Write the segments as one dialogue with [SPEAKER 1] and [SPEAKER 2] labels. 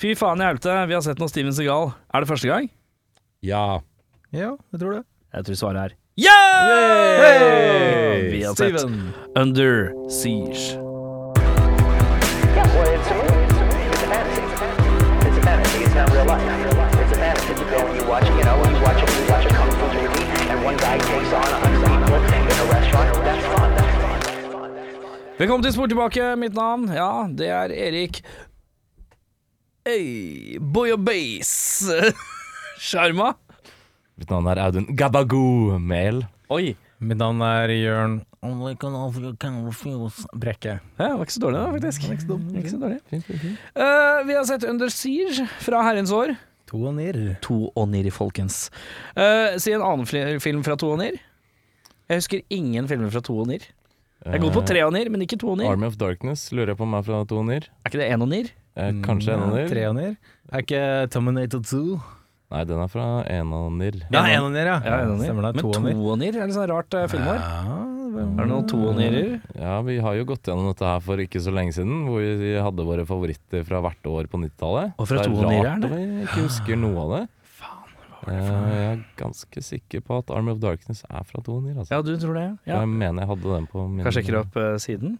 [SPEAKER 1] Fy faen i helvete, vi har sett noe Steven Segal. Er det første gang?
[SPEAKER 2] Ja.
[SPEAKER 3] Ja, jeg tror det.
[SPEAKER 1] Jeg tror svaret er
[SPEAKER 2] Hey!
[SPEAKER 1] Vi har sett
[SPEAKER 3] Steven.
[SPEAKER 1] Under Siege.
[SPEAKER 4] Yeah, well, it's a movie. It's a fantasy. It's a fantasy. It's not real life. It's a fantasy. You go and you watch, you know, you watch a, you watch a kung fu movie, and one guy takes on a hundred people in a restaurant. That's fun. That's fun. That's fun. That's fun.
[SPEAKER 1] Velkommen til Sport tilbake, mitt navn. Ja, det er Erik Hey, boy og base. Sjarma.
[SPEAKER 2] Mitt navn er Audun Gabago Mel.
[SPEAKER 1] Oi.
[SPEAKER 3] Mitt navn er Jørn Brekke.
[SPEAKER 1] Ja, det var ikke så dårlig, da, faktisk. Ikke så dårlig. Eh, vi har sett Under Siege fra herrens år.
[SPEAKER 3] To og nirr.
[SPEAKER 1] To og nir, folkens. Eh, si en annen fli- film fra to og nir. Jeg husker ingen filmer fra to og nir. Jeg er god på tre og nir, men ikke to og nir.
[SPEAKER 2] Eh, Army of Darkness lurer jeg på om er fra Toner.
[SPEAKER 1] Er ikke det én og nir?
[SPEAKER 2] Eh, kanskje en
[SPEAKER 3] Ja, Tre
[SPEAKER 2] oner?
[SPEAKER 3] og nirr. Er ikke Terminator 2?
[SPEAKER 2] Nei, den er fra en oner.
[SPEAKER 3] Ja, en og nirr, ja.
[SPEAKER 1] Ja, én og nir.
[SPEAKER 3] Stemmer det.
[SPEAKER 1] men
[SPEAKER 3] To og nirr.
[SPEAKER 1] to og nir er litt sånn rart uh, filmår. Er det noen to og nirer?
[SPEAKER 2] Ja, vi har jo gått gjennom dette her for ikke så lenge siden, hvor vi hadde våre favoritter fra hvert år på 90-tallet.
[SPEAKER 1] Og fra
[SPEAKER 2] Det er
[SPEAKER 1] to og nireren,
[SPEAKER 2] rart
[SPEAKER 1] det.
[SPEAKER 2] at vi ikke husker noe av det. Eh, Jeg er ganske sikker på at Army of Darkness er fra Toner. Altså.
[SPEAKER 1] Ja, du tror det? Ja.
[SPEAKER 2] Jeg mener jeg hadde den på min
[SPEAKER 1] Kanskje jeg sjekker opp eh, siden.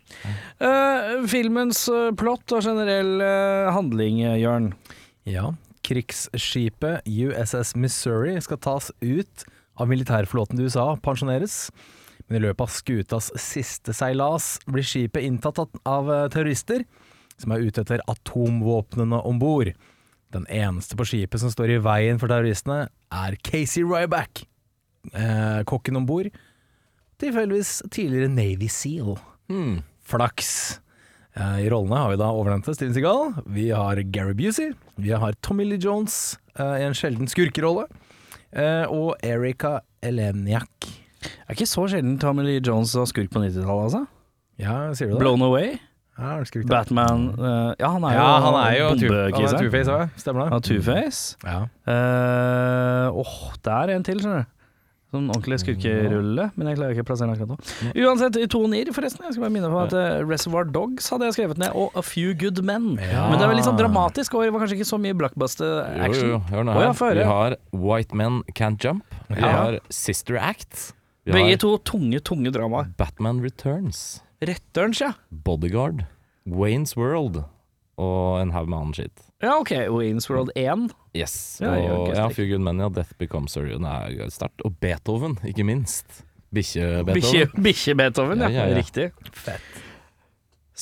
[SPEAKER 1] Eh, filmens eh, plott og generell eh, handling, eh, Jørn.
[SPEAKER 3] Ja. Krigsskipet USS Missouri skal tas ut av militærflåten til USA, pensjoneres. Men i løpet av skutas siste seilas blir skipet inntatt at- av eh, terrorister som er ute etter atomvåpnene om bord. Den eneste på skipet som står i veien for terroristene, er Casey Ryback, eh, kokken om bord. Tilfeldigvis tidligere Navy Seal. Flaks. Eh, I rollene har vi da overnevnte Steven Seagal, vi har Gary Busey, vi har Tommy Lee Jones eh, i en sjelden skurkerolle, eh, og Erika Eleniak.
[SPEAKER 1] Er ikke så sjelden Tommy Lee Jones var skurk på 90-tallet, altså.
[SPEAKER 3] Ja, sier du det?
[SPEAKER 1] Blown Away,
[SPEAKER 3] Ja, er det skurk, da?
[SPEAKER 1] Batman eh, Ja, han er jo,
[SPEAKER 3] ja, han er jo tu- han er
[SPEAKER 1] bombekiseren.
[SPEAKER 3] Two-Face òg, stemmer
[SPEAKER 1] Han
[SPEAKER 3] det?
[SPEAKER 1] er Two-Face.
[SPEAKER 3] Ja.
[SPEAKER 1] Eh, Åh, der er en til, skjønner du. Sånn ordentlig skurkerulle, men jeg klarer ikke å plassere den akkurat nå. Uansett, i to nier, forresten. Jeg skal bare minne på at eh, Reservoir Dogs hadde jeg skrevet ned, og A Few Good Men.
[SPEAKER 3] Ja.
[SPEAKER 1] Men det er vel litt sånn dramatisk, og det var kanskje ikke så mye blockbuster
[SPEAKER 2] Jo,
[SPEAKER 1] action.
[SPEAKER 2] jo, jo, hør
[SPEAKER 1] Å,
[SPEAKER 2] nå her.
[SPEAKER 1] ja, få høre.
[SPEAKER 2] vi har White Men Can't Jump. Vi
[SPEAKER 3] Ja.
[SPEAKER 2] har Sister Act. Vi
[SPEAKER 1] Begge
[SPEAKER 2] har
[SPEAKER 1] to tunge, tunge dramaer.
[SPEAKER 2] Batman Returns.
[SPEAKER 1] Retterens, ja.
[SPEAKER 2] Bodyguard, Wayne's World og en haug med annen skitt.
[SPEAKER 1] Ja, OK. Wayne's World 1.
[SPEAKER 2] Yes.
[SPEAKER 1] Ja, jeg
[SPEAKER 2] og
[SPEAKER 1] orker
[SPEAKER 2] ja,
[SPEAKER 1] sterkt.
[SPEAKER 2] Few Good Men, ja. Death Becomes Her. Den er sterkt. Og Beethoven, ikke minst.
[SPEAKER 1] Bikkje
[SPEAKER 2] Bikkje-Beethoven.
[SPEAKER 1] bikkje Beethoven, ja.
[SPEAKER 2] Ja, ja, ja.
[SPEAKER 1] Riktig.
[SPEAKER 3] Fett.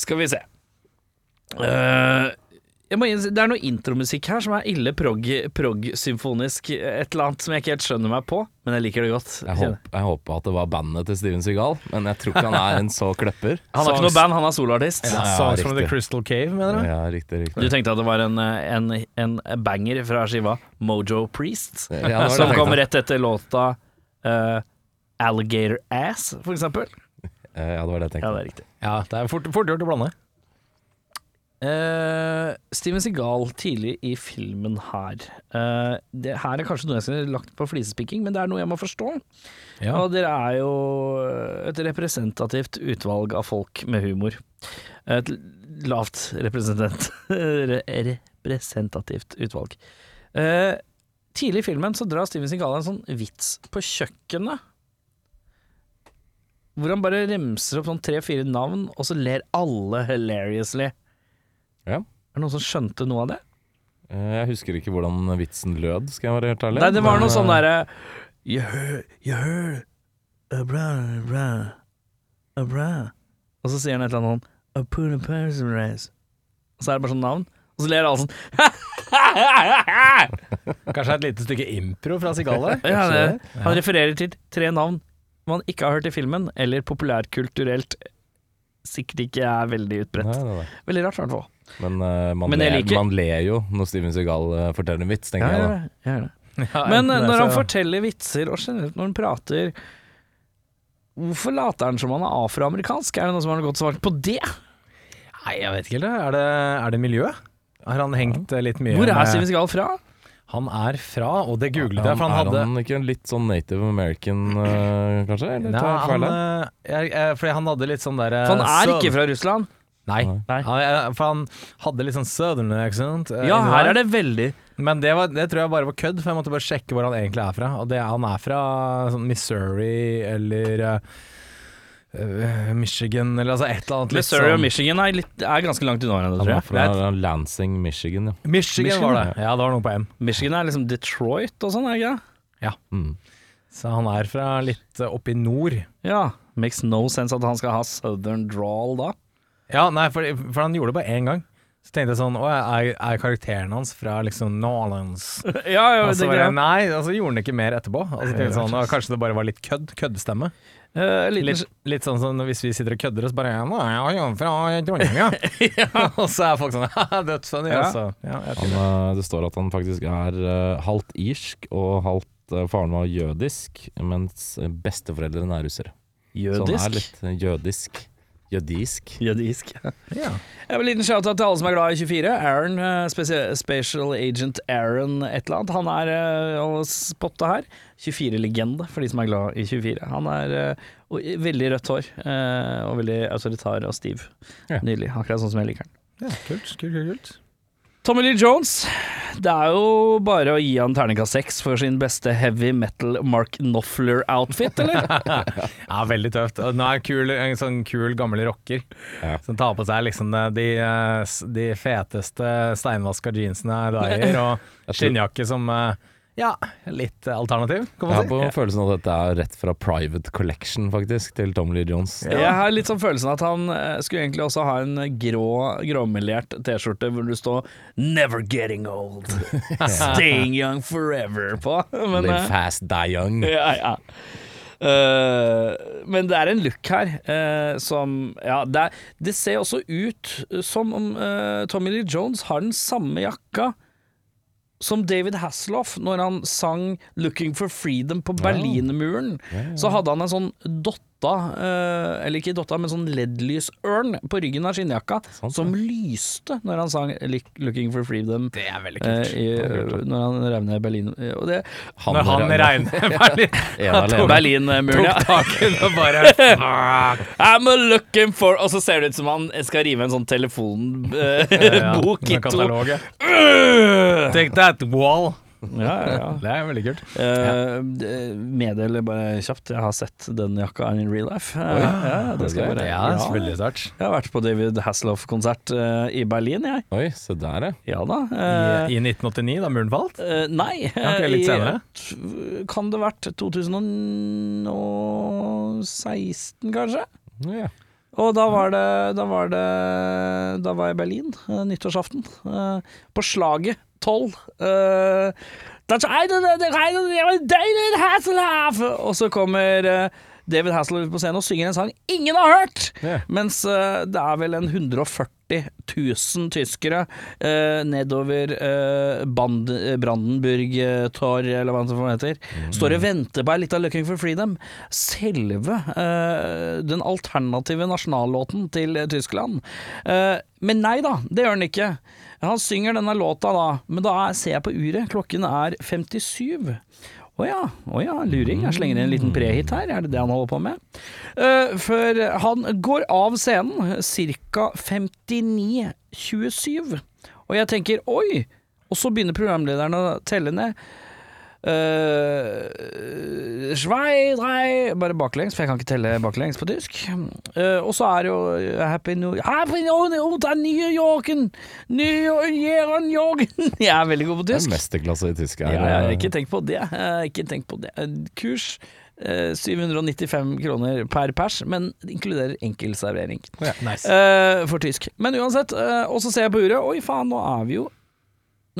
[SPEAKER 1] Skal vi se. Eh, jeg må innse, det er noe intromusikk her som er ille prog- prog-symfonisk. et eller annet som jeg ikke helt skjønner meg på, men jeg liker det godt.
[SPEAKER 2] Jeg, håp, jeg håpa at det var bandet til Steven Seagal, men jeg tror ikke han er en så kløpper.
[SPEAKER 1] Han har ikke noe band, han er soloartist.
[SPEAKER 2] Ja, ja,
[SPEAKER 3] Songs from the
[SPEAKER 2] riktig.
[SPEAKER 3] Crystal Cave, mener du?
[SPEAKER 2] Ja, riktig,
[SPEAKER 1] Du
[SPEAKER 2] riktig.
[SPEAKER 1] tenkte at det var en, eh, en, en banger fra skiva Mojo Priest,
[SPEAKER 2] Ja, det var det
[SPEAKER 1] som
[SPEAKER 2] jeg
[SPEAKER 1] kom
[SPEAKER 2] tenkte.
[SPEAKER 1] rett etter låta eh, Alligator Ass, for eksempel.
[SPEAKER 2] Eh, Ja, det var det jeg
[SPEAKER 1] Ja,
[SPEAKER 2] tenkte.
[SPEAKER 1] det er riktig.
[SPEAKER 3] Ja, det er fort, fort gjort å blande.
[SPEAKER 1] Eh, Steven Seagal tidlig i filmen her. Eh, det her er kanskje noe jeg skulle lagt på flisespikking, men det er noe jeg må forstå.
[SPEAKER 3] Ja.
[SPEAKER 1] Og dere er jo eh, et representativt utvalg av folk med humor. Et lavt representant re- representativt utvalg. Eh, tidlig i filmen så drar Steven Seagal en sånn vits på kjøkkenet. Hvor han bare remser opp sånn tre-fire navn, og så ler alle hilariously.
[SPEAKER 2] Ja.
[SPEAKER 1] Er det noen som skjønte noe av det?
[SPEAKER 2] Eh, Jeg husker ikke hvordan vitsen lød, skal jeg være helt ærlig.
[SPEAKER 1] Nei, det var
[SPEAKER 2] men,
[SPEAKER 1] noe sånn
[SPEAKER 2] eh,
[SPEAKER 1] derre You heard, you heard a brown, a brown, a brown. Og så sier han et eller annet sånn A put a person race. Og så er det bare sånn navn. Og så ler alle sånn.
[SPEAKER 3] Kanskje et lite stykke impro fra Sigale?
[SPEAKER 1] Ja, det, han refererer til tre navn man ikke har hørt i filmen, eller populærkulturelt sikkert ikke er veldig
[SPEAKER 2] eh, Nei,
[SPEAKER 1] utbredt.
[SPEAKER 2] nei, nei.
[SPEAKER 1] Veldig rart, i hvert fall.
[SPEAKER 2] Men, eh, man,
[SPEAKER 1] Men jeg
[SPEAKER 2] ler,
[SPEAKER 1] liker-
[SPEAKER 2] man ler jo når Steven Seagal eh, forteller en vits, tenker
[SPEAKER 1] Ja,
[SPEAKER 2] jeg
[SPEAKER 1] jeg
[SPEAKER 2] da.
[SPEAKER 1] gjør det. Jeg gjør det.
[SPEAKER 3] Ja, altså-
[SPEAKER 1] Men eh,
[SPEAKER 3] enten det er
[SPEAKER 1] når han
[SPEAKER 3] så-
[SPEAKER 1] forteller vitser, og generelt når han prater Hvorfor later han som han er afroamerikansk? Er det noen som har noe godt svar på det?
[SPEAKER 3] Nei, jeg vet ikke helt. det. Er det, er det miljøet? Har han hengt eh, litt mye
[SPEAKER 1] Hvor er
[SPEAKER 3] med-
[SPEAKER 1] Steven Seagal fra?
[SPEAKER 3] Han er fra, og det googlet jeg, for han
[SPEAKER 2] er
[SPEAKER 3] hadde
[SPEAKER 2] han ikke en litt sånn native american, eh, kanskje? Eller
[SPEAKER 3] Nei,
[SPEAKER 2] tar jeg feil
[SPEAKER 3] han,
[SPEAKER 2] her?
[SPEAKER 3] eh, jeg- jeg- fordi han hadde litt sånn der
[SPEAKER 1] For han er ikke fra Russland.
[SPEAKER 3] Nei.
[SPEAKER 1] Nei.
[SPEAKER 3] Han, eh, for han hadde litt sånn southern accent. eh,
[SPEAKER 1] Ja,
[SPEAKER 3] inni
[SPEAKER 1] her
[SPEAKER 3] der.
[SPEAKER 1] er det veldig
[SPEAKER 3] Men det, var, det tror jeg bare var kødd, for jeg måtte bare sjekke hvor han egentlig er fra. Og det, han er fra sånn Missouri eller eh, eh, Michigan eller altså et eller annet. litt
[SPEAKER 1] Missouri og
[SPEAKER 3] sånn-
[SPEAKER 1] Michigan er, litt, er ganske langt unna hverandre,
[SPEAKER 2] Han
[SPEAKER 1] tror
[SPEAKER 2] er
[SPEAKER 1] jeg. Det
[SPEAKER 2] fra
[SPEAKER 1] er,
[SPEAKER 2] Lansing, Michigan, ja.
[SPEAKER 3] Michigan,
[SPEAKER 1] Michigan,
[SPEAKER 3] var det. Ja, det var noe på M.
[SPEAKER 1] Michigan er liksom Detroit og sånn, er det ikke det?
[SPEAKER 2] Mm.
[SPEAKER 3] Så han er fra litt eh, oppe i nord.
[SPEAKER 1] Ja. Makes no sense at han skal ha southern drawl da.
[SPEAKER 3] Ja, nei, for, for han gjorde det bare én gang. Så tenkte jeg sånn Å, er, er karakteren hans fra liksom Nolans?
[SPEAKER 1] ja, ja,
[SPEAKER 3] Og så
[SPEAKER 1] det
[SPEAKER 3] var jeg,
[SPEAKER 1] greier jeg.
[SPEAKER 3] nei, altså gjorde han ikke mer etterpå. Og så tenkte jeg sånn, «Å, kanskje det bare var litt kødd? Køddestemme?
[SPEAKER 1] Eh, liten-
[SPEAKER 3] Litt, litt sånn som hvis vi sitter og kødder og så bare ja, nå er jeg jo fra Trondheim, ja. og så er folk sånn haha, dødsfunny.
[SPEAKER 1] Ja.
[SPEAKER 3] altså. Ja, jeg
[SPEAKER 2] Han,
[SPEAKER 3] tror det.
[SPEAKER 2] eh, det står at han faktisk er eh, halvt irsk og halvt eh, Faren var jødisk, mens besteforeldrene er russere.
[SPEAKER 3] Sånn
[SPEAKER 2] Så han er
[SPEAKER 1] Jødisk?
[SPEAKER 2] litt eh, jødisk. Jødisk.
[SPEAKER 1] Jødisk.
[SPEAKER 3] Ja.
[SPEAKER 1] Jeg vil liten shout-out til alle som er glad i 24. Aaron, eh, spesie- Special Agent Aaron et eller annet, han er eh, å spotte her. 24-legende for de som er glad i 24. Han er eh, og, veldig rødt hår, eh, og veldig autoritær og stiv.
[SPEAKER 2] Ja.
[SPEAKER 1] Nydelig. Akkurat sånn som jeg liker han.
[SPEAKER 3] ja, kult, kult, kult, kult.
[SPEAKER 1] Tommy Lee Jones. Det er jo bare å gi han terningkast seks for sin beste heavy metal Mark Knopfler-outfit, eller?
[SPEAKER 3] Ja, veldig tøft. Og nå er han kul, en sånn kul, gammel rocker
[SPEAKER 2] Ja.
[SPEAKER 3] som tar på seg liksom eh, de, eh, s- de feteste steinvaska jeansene du eier, og
[SPEAKER 2] Jeg tror-
[SPEAKER 3] skinnjakke som eh, ja, litt eh, alternativ, kan man
[SPEAKER 2] Jeg har
[SPEAKER 3] si.
[SPEAKER 2] på følelsen av at dette er rett fra Private Collection, faktisk, til Tom Lee Jones.
[SPEAKER 1] Jeg har litt sånn følelsen at han eh, skulle egentlig også ha en grå, gråmelert T-skjorte hvor det står 'Never getting old', 'Staying young forever' på. Men,
[SPEAKER 2] Live
[SPEAKER 1] eh,
[SPEAKER 2] fast, die young.
[SPEAKER 1] ja, ja. Eh, men det er en look her eh, som Ja, det, er, det ser også ut som om eh, Tommy Lee Jones har den samme jakka som David Hasselhoff når han sang 'Looking for Freedom' på Berlinmuren. Så hadde han en sånn dotta, eh, eller ikke dotta, men sånn LED-lysørn på ryggen av skinnjakka
[SPEAKER 2] Sant,
[SPEAKER 1] som lyste når han sang 'Looking for Freedom'.
[SPEAKER 3] Det er veldig
[SPEAKER 1] eh, i, når han rev ned Berlin eh, Og det
[SPEAKER 3] Når han regner Berlin,
[SPEAKER 2] En alene.
[SPEAKER 1] Berlinmuren, ja.
[SPEAKER 3] tok taken og bare sånn, fuck.
[SPEAKER 1] I'm a looking for Og så ser det ut som han skal rive en sånn telefonbok i to.
[SPEAKER 3] Take that wall.
[SPEAKER 1] Ja, ja, ja.
[SPEAKER 3] Det er veldig kult.
[SPEAKER 1] Eh, d- Meddel bare kjapt, jeg har sett den jakka in real life. Eh, ja, det skal jeg bare ja.
[SPEAKER 3] veldig sterkt.
[SPEAKER 1] Jeg har vært på David Hasselhoff-konsert eh, i Berlin, jeg.
[SPEAKER 2] Oi, se der, ja.
[SPEAKER 1] Ja da. eh,
[SPEAKER 3] I, I 1989, da muren falt?
[SPEAKER 1] eh, nei.
[SPEAKER 3] Ok, litt
[SPEAKER 1] eh, i-
[SPEAKER 3] senere.
[SPEAKER 1] t- Kan det vært 2016, kanskje?
[SPEAKER 2] ja.
[SPEAKER 1] Og da var det Da var, det, da var jeg i Berlin, eh, nyttårsaften. eh, på slaget 12. eh, «That's I don't know, that's I don't know, David Hasselhoff! Og så kommer eh, David Hasselhoff på scenen og synger en sang ingen har hørt!
[SPEAKER 2] Ja.
[SPEAKER 1] Mens eh, det er vel en 140 000 tyskere eh, nedover eh, Band eh, Brandenburg eh, Tor, eller hva det heter, står og venter på ei lita Looking for Freedom. Selve eh, den alternative nasjonallåten til eh, Tyskland. Eh, men nei da, det gjør han ikke. Han synger denne låta da, men da er, ser jeg på uret, klokken er 57. Å ja, å ja, luring. Jeg slenger inn en liten prehit her, er det det han holder på med? Eh, for han går av scenen ca. 59.27, og jeg tenker oi, og så begynner programlederen å telle ned. Uh, Svei, drei Bare baklengs, for jeg kan ikke telle baklengs på tysk. Eh, og så er det jo Happy New Happy New York, New Yorken! New Yorken! Jeg er veldig god på
[SPEAKER 2] Det er
[SPEAKER 1] tysk.
[SPEAKER 2] mesterklasse i tysk her.
[SPEAKER 1] Ja, ja, ikke tenk på det. Eh, Ikke tenk på det. Eh, Kurs eh, 795 kroner per pers, men det inkluderer enkel servering.
[SPEAKER 3] Nice.
[SPEAKER 1] Eh, for tysk. Men uansett, eh, og så ser jeg på uret, oi faen, nå er vi jo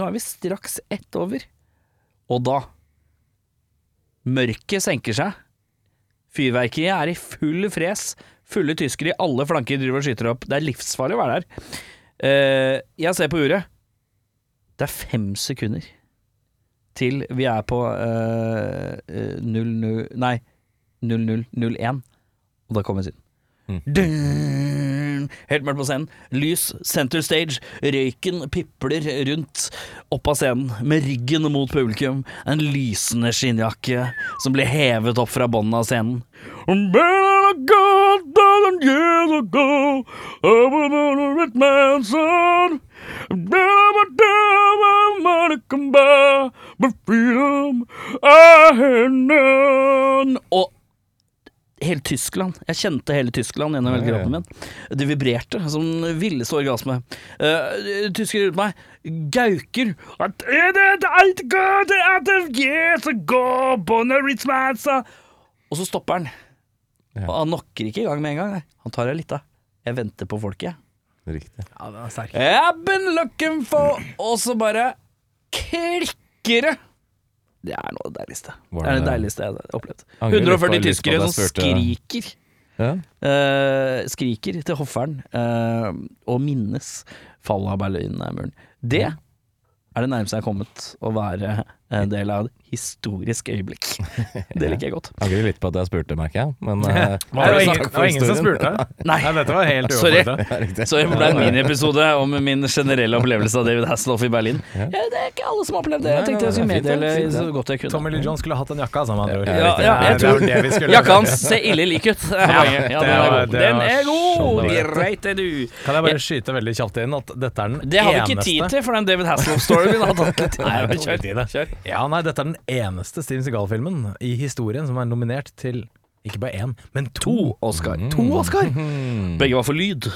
[SPEAKER 1] Nå er vi straks ett over. Og da Mørket senker seg. Fyrverkeriet er i full fres. Fulle tyskere i alle flanker driver og skyter opp. Det er livsfarlig å være der. Eh, jeg ser på uret. Det er fem sekunder til vi er på eh, eh, 00 Nei, 0001. Og da kommer synden.
[SPEAKER 2] Mm.
[SPEAKER 1] Dun! Helt mørkt på scenen. Lys, center stage. Røyken pipler rundt opp av scenen, med ryggen mot publikum. En lysende skinnjakke som blir hevet opp fra bunnen av scenen. thousand years ago, I was born a rich man's son. Down my time, money come by, but freedom I had none. Og hele Tyskland. Jeg kjente hele Tyskland gjennom hele
[SPEAKER 2] Ja, ja.
[SPEAKER 1] kroppen min. Det vibrerte som den villeste orgasme. Uh, tyskere rundt meg gauker at «It is alt good, it is yes, go, bonne rich man, sa». Og så stopper han.
[SPEAKER 2] Ja.
[SPEAKER 1] Og han knocker ikke i gang med en gang. nei. Han tar ei lita. Jeg venter på folket, jeg.
[SPEAKER 2] Riktig.
[SPEAKER 3] Ja, den er sterk.
[SPEAKER 1] I've been looking for Og så bare klikker det. Det er noe av det deiligste. Det
[SPEAKER 2] Var
[SPEAKER 1] er det
[SPEAKER 2] det-
[SPEAKER 1] deiligste jeg har opplevd.
[SPEAKER 2] Angrer litt på-
[SPEAKER 1] 140
[SPEAKER 2] litt på at
[SPEAKER 1] tyskere
[SPEAKER 2] jeg
[SPEAKER 1] som
[SPEAKER 2] spurte-
[SPEAKER 1] skriker.
[SPEAKER 2] Ja.
[SPEAKER 1] eh, skriker til hofferen eh, og minnes fallet av Berlinmuren. Det er det nærmeste jeg har kommet å være en del av et historisk øyeblikk. Det liker jeg godt.
[SPEAKER 2] Angrer litt på at jeg spurte, merker jeg. Men eh,
[SPEAKER 3] Det var
[SPEAKER 2] takk
[SPEAKER 3] ingen,
[SPEAKER 2] for
[SPEAKER 3] det var ingen som
[SPEAKER 2] historien.
[SPEAKER 3] spurte.
[SPEAKER 1] Nei.
[SPEAKER 3] Nei, dette var helt
[SPEAKER 1] Sorry.
[SPEAKER 3] uoppfordret.
[SPEAKER 2] Ja, riktig.
[SPEAKER 1] Så det ble en miniepisode om min generelle opplevelse av David Hasselhoff i Berlin. Ja, det er ikke alle som har opplevd det.
[SPEAKER 2] Nei,
[SPEAKER 1] Jeg tenkte jeg
[SPEAKER 2] nei,
[SPEAKER 1] skulle
[SPEAKER 2] nei, fint,
[SPEAKER 1] meddele
[SPEAKER 2] fint,
[SPEAKER 1] så
[SPEAKER 2] fint.
[SPEAKER 1] godt jeg kunne.
[SPEAKER 3] Tommy Lee Jones skulle hatt den jakka, sa han.
[SPEAKER 2] Ja,
[SPEAKER 1] ja, ja, jeg
[SPEAKER 3] det var
[SPEAKER 1] tror-
[SPEAKER 3] det vi skulle
[SPEAKER 1] Jakka hans ser ille lik ut. Ja, ja, den er
[SPEAKER 3] var-
[SPEAKER 1] god.
[SPEAKER 3] det
[SPEAKER 1] Den
[SPEAKER 3] var
[SPEAKER 1] er god!
[SPEAKER 3] sånn det var.
[SPEAKER 1] Greit, det du.
[SPEAKER 3] Kan jeg bare skyte veldig kjapt inn at dette er den
[SPEAKER 1] Det har vi ikke tid
[SPEAKER 3] eneste
[SPEAKER 1] til, for den David Hasselhoff-storyen min har tatt litt Nei,
[SPEAKER 3] det er
[SPEAKER 1] kjør.
[SPEAKER 3] dårlig tid,
[SPEAKER 1] kjør.
[SPEAKER 3] Ja, nei, dette er den eneste Steven Seagal-filmen i historien som er nominert til ikke bare én, men to.
[SPEAKER 1] Oscar.
[SPEAKER 3] To Oscar!
[SPEAKER 1] Mm.
[SPEAKER 2] Mhm.
[SPEAKER 1] Begge var for lyd.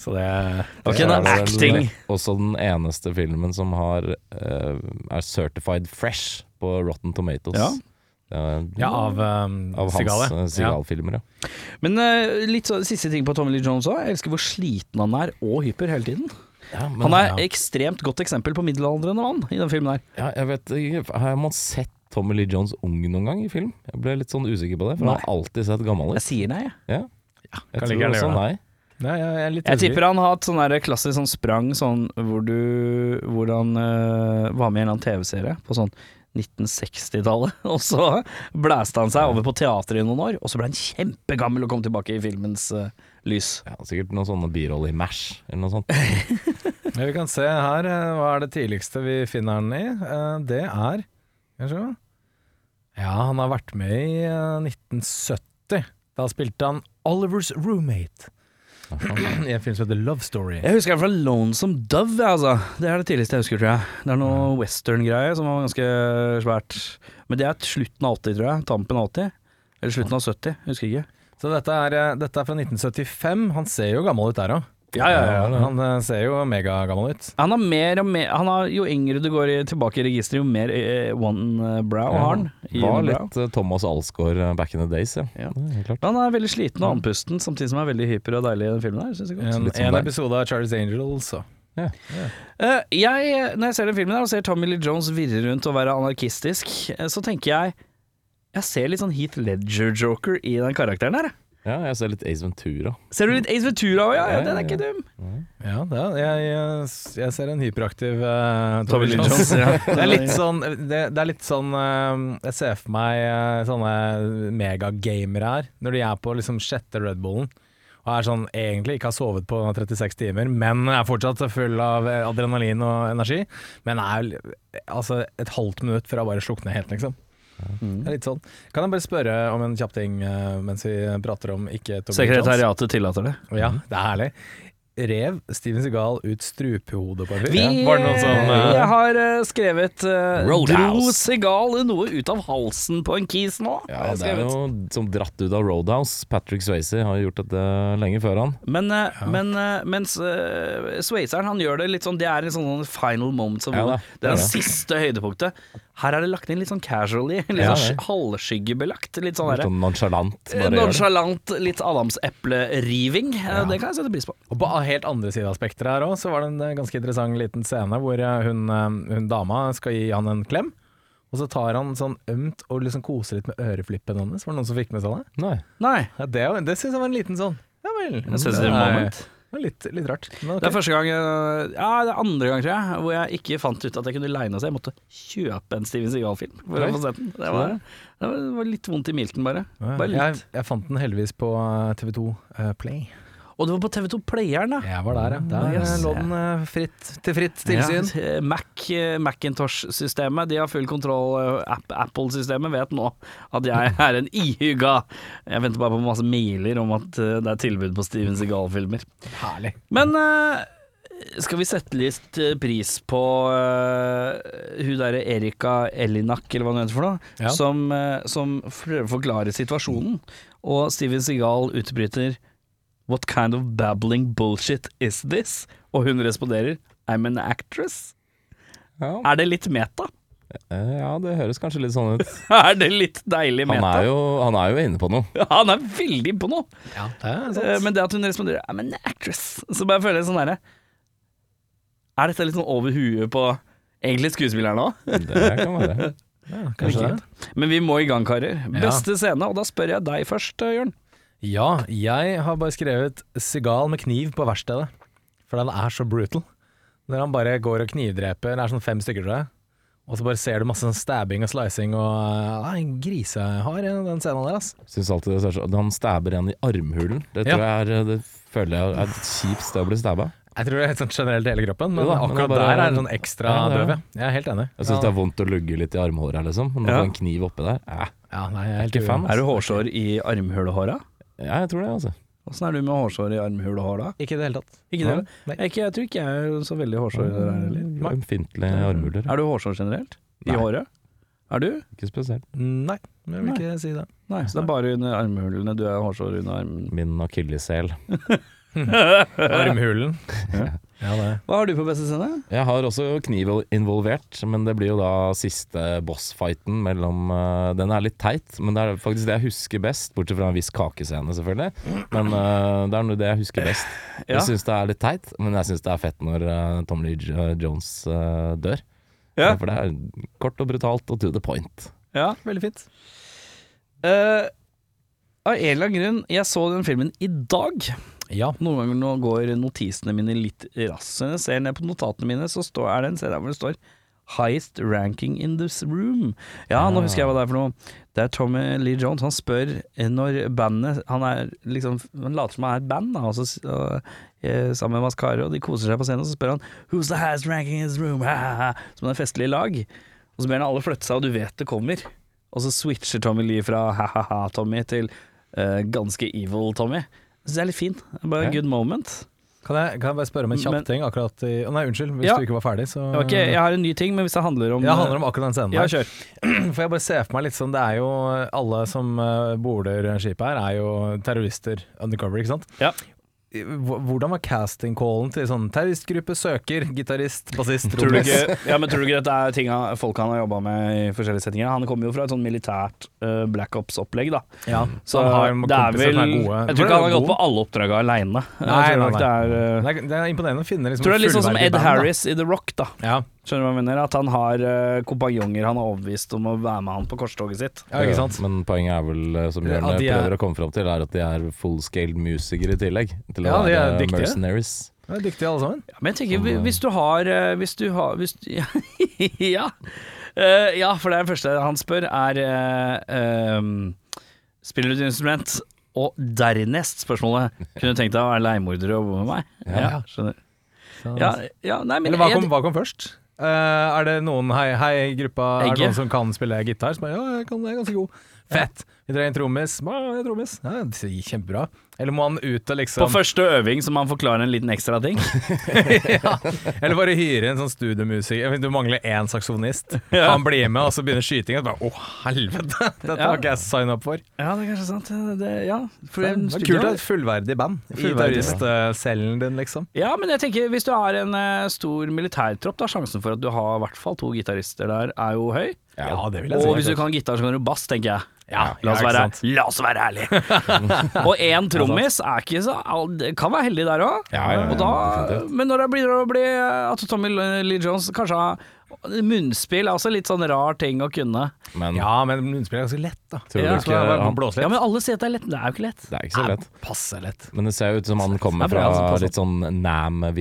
[SPEAKER 3] Så det
[SPEAKER 1] Ok,
[SPEAKER 2] Så
[SPEAKER 1] da
[SPEAKER 2] er det
[SPEAKER 1] acting.
[SPEAKER 2] Den, også den eneste filmen som har eh, er certified fresh på Rotten Tomatoes.
[SPEAKER 1] Ja.
[SPEAKER 2] Eh,
[SPEAKER 3] Ja, av, um,
[SPEAKER 2] av
[SPEAKER 3] Seagal,
[SPEAKER 2] hans eh, Seagal-filmer, ja.
[SPEAKER 1] Men eh, litt så, siste ting på Tommy Lee Jones òg. Jeg elsker hvor sliten han er, og hyper hele tiden.
[SPEAKER 2] ja. men-
[SPEAKER 1] Han er
[SPEAKER 3] ja.
[SPEAKER 1] ekstremt godt eksempel på middelaldrende mann i den filmen her.
[SPEAKER 2] ja, jeg vet ikke, Har man sett Tommy Lee Jones ung noen gang i film? Jeg ble litt sånn usikker på det, for han har alltid sett gammel
[SPEAKER 1] Jeg
[SPEAKER 2] ut.
[SPEAKER 1] sier nei, jeg.
[SPEAKER 2] Ja. Jeg
[SPEAKER 3] kan
[SPEAKER 2] tror
[SPEAKER 3] like gjerne
[SPEAKER 2] også
[SPEAKER 3] gjøre
[SPEAKER 2] nei.
[SPEAKER 3] Nei, jeg, jeg er litt
[SPEAKER 1] Jeg tipper
[SPEAKER 3] usikker.
[SPEAKER 1] han har hatt sånn der klassisk sånn sprang sånn hvor du Hvor han øh, var med i en eller annen TV-serie på sånn 1960-tallet, og så blæste han seg over på teatret i noen år, og så ble han kjempegammel og kom tilbake i filmens øh, lys.
[SPEAKER 2] Ja, sikkert noen sånne biroller i Mash eller noe sånt.
[SPEAKER 3] Ja, Vi kan se her, eh, hva er det tidligste vi finner den i? Eh, Det er Skal vi se Ja, han har vært med i eh, 1970. Da spilte han Olivers roommate i en film som heter Love Story.
[SPEAKER 1] Jeg husker i hvert fall Lonesome Dove, jeg, altså. Det er det tidligste jeg husker, tror jeg. Det er noe western-greie som var ganske svært. Men det er slutten av 80, tror jeg. Tampen av 80. Eller slutten av 70, husker ikke.
[SPEAKER 3] Så dette er, eh, dette er fra 1975. Han ser jo gammel ut der òg.
[SPEAKER 1] Ja, ja, ja.
[SPEAKER 3] Han eh, ser jo megagammel ut.
[SPEAKER 1] Han har mer og mer Han har, Jo yngre du går i, tilbake i registeret, jo mer eh, one brow har han. i
[SPEAKER 2] Var
[SPEAKER 1] one brow.
[SPEAKER 2] litt eh, Thomas Alsgaard eh, back in the days, ja.
[SPEAKER 1] Ja.
[SPEAKER 2] Det er helt klart.
[SPEAKER 1] Men Han er veldig sliten og andpusten, samtidig som han er veldig hyper og deilig i den filmen. her, synes jeg godt.
[SPEAKER 3] En,
[SPEAKER 2] litt som
[SPEAKER 3] en
[SPEAKER 2] deg.
[SPEAKER 3] episode av Charles Angels så.
[SPEAKER 1] Eh, jeg, når jeg ser den filmen her og ser Tommy Lee Jones virre rundt og være anarkistisk, eh, så tenker jeg Jeg ser litt sånn Heath Ledger-joker i den karakteren her. jeg.
[SPEAKER 2] Ja, jeg ser litt Ace Ventura.
[SPEAKER 1] Ser du litt Ace Ventura òg, ja? ja?
[SPEAKER 2] Ja,
[SPEAKER 1] Den er
[SPEAKER 2] ja,
[SPEAKER 1] ikke
[SPEAKER 2] ja.
[SPEAKER 1] dum.
[SPEAKER 3] Ja, det er, jeg, jeg, jeg ser en hyperaktiv eh, Tommy Lee Jones.
[SPEAKER 1] ja.
[SPEAKER 3] Det er litt sånn, det, det er litt sånn eh, Jeg ser for meg eh, sånne megagamere her, når de er på liksom sjette Red Bullen. Og er sånn, egentlig ikke har sovet på 36 timer, men er fortsatt full av eh, adrenalin og energi. Men er vel, eh, altså et halvt minutt fra å bare slukne helt, liksom. Det er litt sånn. Kan jeg bare spørre om en kjapp ting eh, mens vi prater om ikke Tommy Lee Jones?
[SPEAKER 1] Sekretariatet tillater det.
[SPEAKER 3] Ja, det er herlig. Rev Steven Seagal ut strupehodet på en fyr?
[SPEAKER 1] Vi,
[SPEAKER 3] Ja. Var det noen som eh,
[SPEAKER 1] jeg har eh, skrevet eh, Dro
[SPEAKER 2] Roadhouse.
[SPEAKER 1] Segal noe ut av halsen på en kis nå? har
[SPEAKER 2] Ja,
[SPEAKER 1] jeg
[SPEAKER 2] det er
[SPEAKER 1] skrevet.
[SPEAKER 2] jo som dratt ut av Roadhouse. Patrick Swayze har gjort dette lenge før han.
[SPEAKER 1] Men, eh, men eh, mens eh, sveiseren han gjør det litt sånn Det er en sånn final moment. Som,
[SPEAKER 2] Ja da,
[SPEAKER 1] det, er
[SPEAKER 2] det er
[SPEAKER 1] det
[SPEAKER 2] det.
[SPEAKER 1] siste høydepunktet. Her er det lagt inn litt sånn casually. Litt
[SPEAKER 2] Ja,
[SPEAKER 1] sånn
[SPEAKER 2] det.
[SPEAKER 1] sk- halvskyggebelagt. Litt sånn
[SPEAKER 2] Litt
[SPEAKER 1] derre
[SPEAKER 2] sånn nonchalant.
[SPEAKER 1] eh,
[SPEAKER 2] Bare gjør det.
[SPEAKER 1] nonchalant, litt adamsepleriving. Eh, Det kan jeg sette pris på.
[SPEAKER 3] Og på helt andre siden av spekteret her også, så var det en eh, ganske interessant liten scene hvor eh, hun, eh, hun dama skal gi han en klem, og så tar han sånn ømt og liksom koser litt med øreflippen hennes. Var det noen som fikk med seg det?
[SPEAKER 2] Nei.
[SPEAKER 1] Nei.
[SPEAKER 3] Ja, det er jo- det syns jeg var en liten sånn Ja vel.
[SPEAKER 1] sensitive
[SPEAKER 3] Nei.
[SPEAKER 1] moment.
[SPEAKER 3] Det var Litt, litt rart. Men ok.
[SPEAKER 1] Det er første gang eh, Ja, det er andre gang, tror jeg, hvor jeg ikke fant ut at jeg kunne leie den. Så jeg måtte kjøpe en Steven Seagal-film for å
[SPEAKER 2] Oi.
[SPEAKER 1] få sett den. Det var, det var- det var litt vondt i milten, bare.
[SPEAKER 3] Ja,
[SPEAKER 1] Bare litt.
[SPEAKER 3] eh, jeg, jeg fant den heldigvis på TV2 Play.
[SPEAKER 1] Å Og det var på TV2 Playeren, da.
[SPEAKER 3] Jeg var der, ja. Der
[SPEAKER 1] Yes.
[SPEAKER 3] eh, lå den eh, fritt, til fritt tilsyn.
[SPEAKER 1] Ja, Mac, eh, Macintosh-systemet, de har full kontroll. eh, App, Apple-systemet vet nå at jeg er en ihugga Jeg venter bare på masse mailer om at eh, det er tilbud på Steven Segal-filmer.
[SPEAKER 3] Herlig.
[SPEAKER 1] Men eh, skal vi sette litt eh, pris på eh, hun derre Erika Elinak, eller hva hun heter for noe,
[SPEAKER 3] Ja.
[SPEAKER 1] som, eh, som prøver å forklare situasjonen, og Steven Segal utbryter What kind of babbling bullshit is this? Og hun responderer I'm an actress.
[SPEAKER 2] Ja.
[SPEAKER 1] Er det litt meta?
[SPEAKER 2] Eh, ja, det høres kanskje litt sånn ut.
[SPEAKER 1] Er det litt deilig
[SPEAKER 2] Han
[SPEAKER 1] meta?
[SPEAKER 2] er jo, han er jo inne på noe.
[SPEAKER 1] Han er veldig på noe.
[SPEAKER 3] Ja, det er
[SPEAKER 1] Eh, Men det at hun responderer I'm an actress, så bare føler jeg sånn derre Er dette litt sånn over huet på egentlig skuespilleren òg?
[SPEAKER 2] Det kan være.
[SPEAKER 3] kanskje det.
[SPEAKER 1] Men vi må i gang, karer.
[SPEAKER 3] Ja.
[SPEAKER 1] Beste scene, og da spør jeg deg først, eh, Jørn.
[SPEAKER 3] Ja, jeg har bare skrevet 'Sigal med kniv på verkstedet', for den er så brutal. Når han bare går og knivdreper, det er sånn fem stykker, tror jeg, og så bare ser du masse sånn stabbing og slicing og ja, En grisehard, ja, den scenen der, ass.
[SPEAKER 2] Synes alltid det er så- Han stabber en i armhulen. Det tror jeg er eh, Det føler jeg er et kjipt sted å bli stabba.
[SPEAKER 3] Jeg tror det er helt sånn generelt i hele kroppen, men
[SPEAKER 2] Jo da, men det er
[SPEAKER 3] akkurat
[SPEAKER 2] bare-
[SPEAKER 3] der er det sånn ekstra
[SPEAKER 2] Ja, det er
[SPEAKER 3] bøv,
[SPEAKER 2] det.
[SPEAKER 3] ja. Jeg er helt enig.
[SPEAKER 2] Jeg syns det er vondt å lugge litt i armhåret her, liksom. Når du
[SPEAKER 1] Ja.
[SPEAKER 2] får en kniv oppi der. Eh,
[SPEAKER 3] Ja, nei, jeg er helt
[SPEAKER 2] ikke fan,
[SPEAKER 3] uenig.
[SPEAKER 2] ass.
[SPEAKER 1] Er du hårsår i armhulehåra?
[SPEAKER 2] ja, jeg tror det, altså.
[SPEAKER 1] Åssen er du med hårsår i armhulehåra?
[SPEAKER 3] Ikke i det hele tatt.
[SPEAKER 1] Ikke det? Jeg, ikke, jeg tror ikke jeg er så veldig hårsår i det der heller.
[SPEAKER 2] Ømfintlige armhuler.
[SPEAKER 1] Er du hårsår generelt? I
[SPEAKER 2] Nei.
[SPEAKER 1] håret? Er du?
[SPEAKER 2] Ikke spesielt.
[SPEAKER 3] Nei, jeg vil ikke si det.
[SPEAKER 1] Nei, så det er bare under armhulene du er hårsår under armen.
[SPEAKER 2] Min akilleshæl.
[SPEAKER 3] Armhulen.
[SPEAKER 1] Ja.
[SPEAKER 3] Ja, det.
[SPEAKER 1] Hva har du på beste scene?
[SPEAKER 2] Jeg har også kniv involvert, men det blir jo da siste bossfighten mellom eh, Den er litt teit, men det er faktisk det jeg husker best, bortsett fra en viss kakescene, selvfølgelig. Men eh, det er noe det jeg husker best.
[SPEAKER 1] Ja.
[SPEAKER 2] Jeg syns det er litt teit, men jeg syns det er fett når eh, Tom Lee J- eh, Jones eh, dør.
[SPEAKER 1] Ja.
[SPEAKER 2] For det er kort og brutalt og to the point.
[SPEAKER 1] Ja.
[SPEAKER 3] Veldig fint.
[SPEAKER 1] Eh, av en eller annen grunn, jeg så den filmen i dag.
[SPEAKER 3] Ja.
[SPEAKER 1] Noen ganger nå går notisene mine litt raskt. Så når jeg ser ned på notatene mine, så står, er det en CD hvor det står 'Highest ranking in this room'. Ja,
[SPEAKER 3] Ah.
[SPEAKER 1] nå husker jeg hva det er for noe. Det er Tommy Lee Jones. Han spør eh, når bandet Han er liksom Han later som han er et band, da, og så, s- og, eh, sammen med Mascaro, og de koser seg på scenen, og så spør han 'Who's the highest ranking in this room?' Som en festlig lag. Og så ber han alle flytte seg, og du vet det kommer. Og så switcher Tommy Lee fra ha-ha-ha Tommy til eh, ganske evil Tommy. Jeg synes det er litt fint. Det er Bare
[SPEAKER 2] Ja.
[SPEAKER 1] a good moment.
[SPEAKER 3] Kan jeg, kan jeg bare spørre om en kjapp
[SPEAKER 1] Men-
[SPEAKER 3] ting? akkurat i, Å Nei, unnskyld, hvis
[SPEAKER 1] Ja.
[SPEAKER 3] du ikke var ferdig,
[SPEAKER 1] Jeg,
[SPEAKER 3] så
[SPEAKER 1] har ikke, jeg har en ny ting, men hvis det handler om eh,
[SPEAKER 3] Ja, det handler om akkurat den scenen
[SPEAKER 1] Ja,
[SPEAKER 3] der.
[SPEAKER 1] kjør.
[SPEAKER 3] For jeg bare ser for meg litt sånn, det er jo alle som eh, border skipet her, er jo terrorister undercover, ikke sant?
[SPEAKER 1] Ja.
[SPEAKER 3] I- hv- Hvordan var casting-callen til sånn terroristgruppe søker gitarist, bassist,
[SPEAKER 1] Tror du,
[SPEAKER 3] trommis?
[SPEAKER 1] ikke, ja, men tror du ikke dette er ting han- folk han har jobba med i forskjellige settinger? Han kommer jo fra et sånn militært eh, Black Ops-opplegg, da.
[SPEAKER 3] Ja,
[SPEAKER 1] Så
[SPEAKER 3] så han har
[SPEAKER 1] det er vel
[SPEAKER 3] kompiser som er gode.
[SPEAKER 1] Jeg tror ikke han har gått på alle oppdraga aleine.
[SPEAKER 3] Nei,
[SPEAKER 1] Jeg tror
[SPEAKER 3] nei,
[SPEAKER 1] nok
[SPEAKER 3] nei.
[SPEAKER 1] det er, eh,
[SPEAKER 3] Det er, det er imponerende å finne liksom
[SPEAKER 1] tror det er litt sånn som
[SPEAKER 3] fullverdig
[SPEAKER 1] Ed
[SPEAKER 3] band, da.
[SPEAKER 1] Harris i The Rock, da.
[SPEAKER 3] Ja,
[SPEAKER 1] Skjønner du hva jeg mener? At han har eh, kompanjonger han er overbevist om å være med han på korstoget sitt.
[SPEAKER 3] ja, ikke sant?
[SPEAKER 2] Men poenget er vel, eh, som Jørn
[SPEAKER 3] At de er-
[SPEAKER 2] prøver å komme fram til, er at de er full-scaled musikere i tillegg. Til å
[SPEAKER 3] Ja, de er
[SPEAKER 2] være
[SPEAKER 3] dyktige.
[SPEAKER 2] mercenaries.
[SPEAKER 3] De er dyktige alle sammen.
[SPEAKER 1] Ja, men jeg
[SPEAKER 3] Sånn,
[SPEAKER 1] tenker, hvi- hvis du har eh, Hvis du har hvis, ja. ja. Eh, ja, for det er det første han spør, er eh, ehm, Spiller du et instrument? Og dernest spørsmålet Kunne du tenkt deg å være leiemorder og bo med meg? Ja, skjønner
[SPEAKER 3] Så-
[SPEAKER 1] ja, ja, nei, men
[SPEAKER 3] Sånn. Eller hva kom,
[SPEAKER 1] jeg,
[SPEAKER 3] hva kom først? Eh, er det noen hei, hei gruppa Er det
[SPEAKER 1] Egge.
[SPEAKER 3] noen som kan spille gitar? Som er, ja, jeg kan, jeg er ganske god. Fett! Vi trenger en trommis. Ja, jeg er trommis. Ja, det sier kjempebra. Eller må han ut og
[SPEAKER 1] På
[SPEAKER 3] liksom
[SPEAKER 1] første øving så må han forklare en liten ekstra ting.
[SPEAKER 3] ja. Eller bare hyre en sånn studiomusiker. Jeg vet, Du mangler én saksofonist.
[SPEAKER 1] Ja.
[SPEAKER 3] Han blir med, og så begynner skytinga. Å, helvete! Dette
[SPEAKER 1] Ja.
[SPEAKER 3] har ikke jeg signa opp for.
[SPEAKER 1] Ja, det er kanskje sant. Det, ja, for
[SPEAKER 3] Det Sånn, er
[SPEAKER 1] en
[SPEAKER 3] kult
[SPEAKER 1] studio-
[SPEAKER 3] å ha et fullverdig band i
[SPEAKER 1] Fullverdig band.
[SPEAKER 3] terroristcellen din, liksom.
[SPEAKER 1] Ja, men jeg tenker hvis du har en eh, stor militærtropp, da sjansen for at du har i hvert fall to gitarister der, er jo høy.
[SPEAKER 3] Ja, det vil jeg
[SPEAKER 1] Og
[SPEAKER 3] si.
[SPEAKER 1] hvis du kan gitar, så kan du bass, tenker jeg.
[SPEAKER 3] Ja,
[SPEAKER 1] La oss,
[SPEAKER 3] ja, ikke
[SPEAKER 1] være,
[SPEAKER 3] sant.
[SPEAKER 1] la oss være ærlige. og én trommis er ikke så all- det Kan være heldig der òg.
[SPEAKER 2] Ja, ja, ja, definitivt.
[SPEAKER 1] men når det blir å bli at Tommy Lee Jones kanskje har Munnspill er også litt sånn rar ting å kunne.
[SPEAKER 2] Men
[SPEAKER 3] Ja, men munnspill er ganske lett, da.
[SPEAKER 2] tror du
[SPEAKER 1] Ja.
[SPEAKER 2] ikke han,
[SPEAKER 3] blåse
[SPEAKER 1] Ja, men alle sier at det er lett. men Det er jo ikke lett.
[SPEAKER 2] Det er ikke så lett.
[SPEAKER 3] Passe lett.
[SPEAKER 2] Men det ser jo ut som han kommer
[SPEAKER 1] Det er bra, altså,
[SPEAKER 2] fra
[SPEAKER 1] passer.
[SPEAKER 2] litt sånn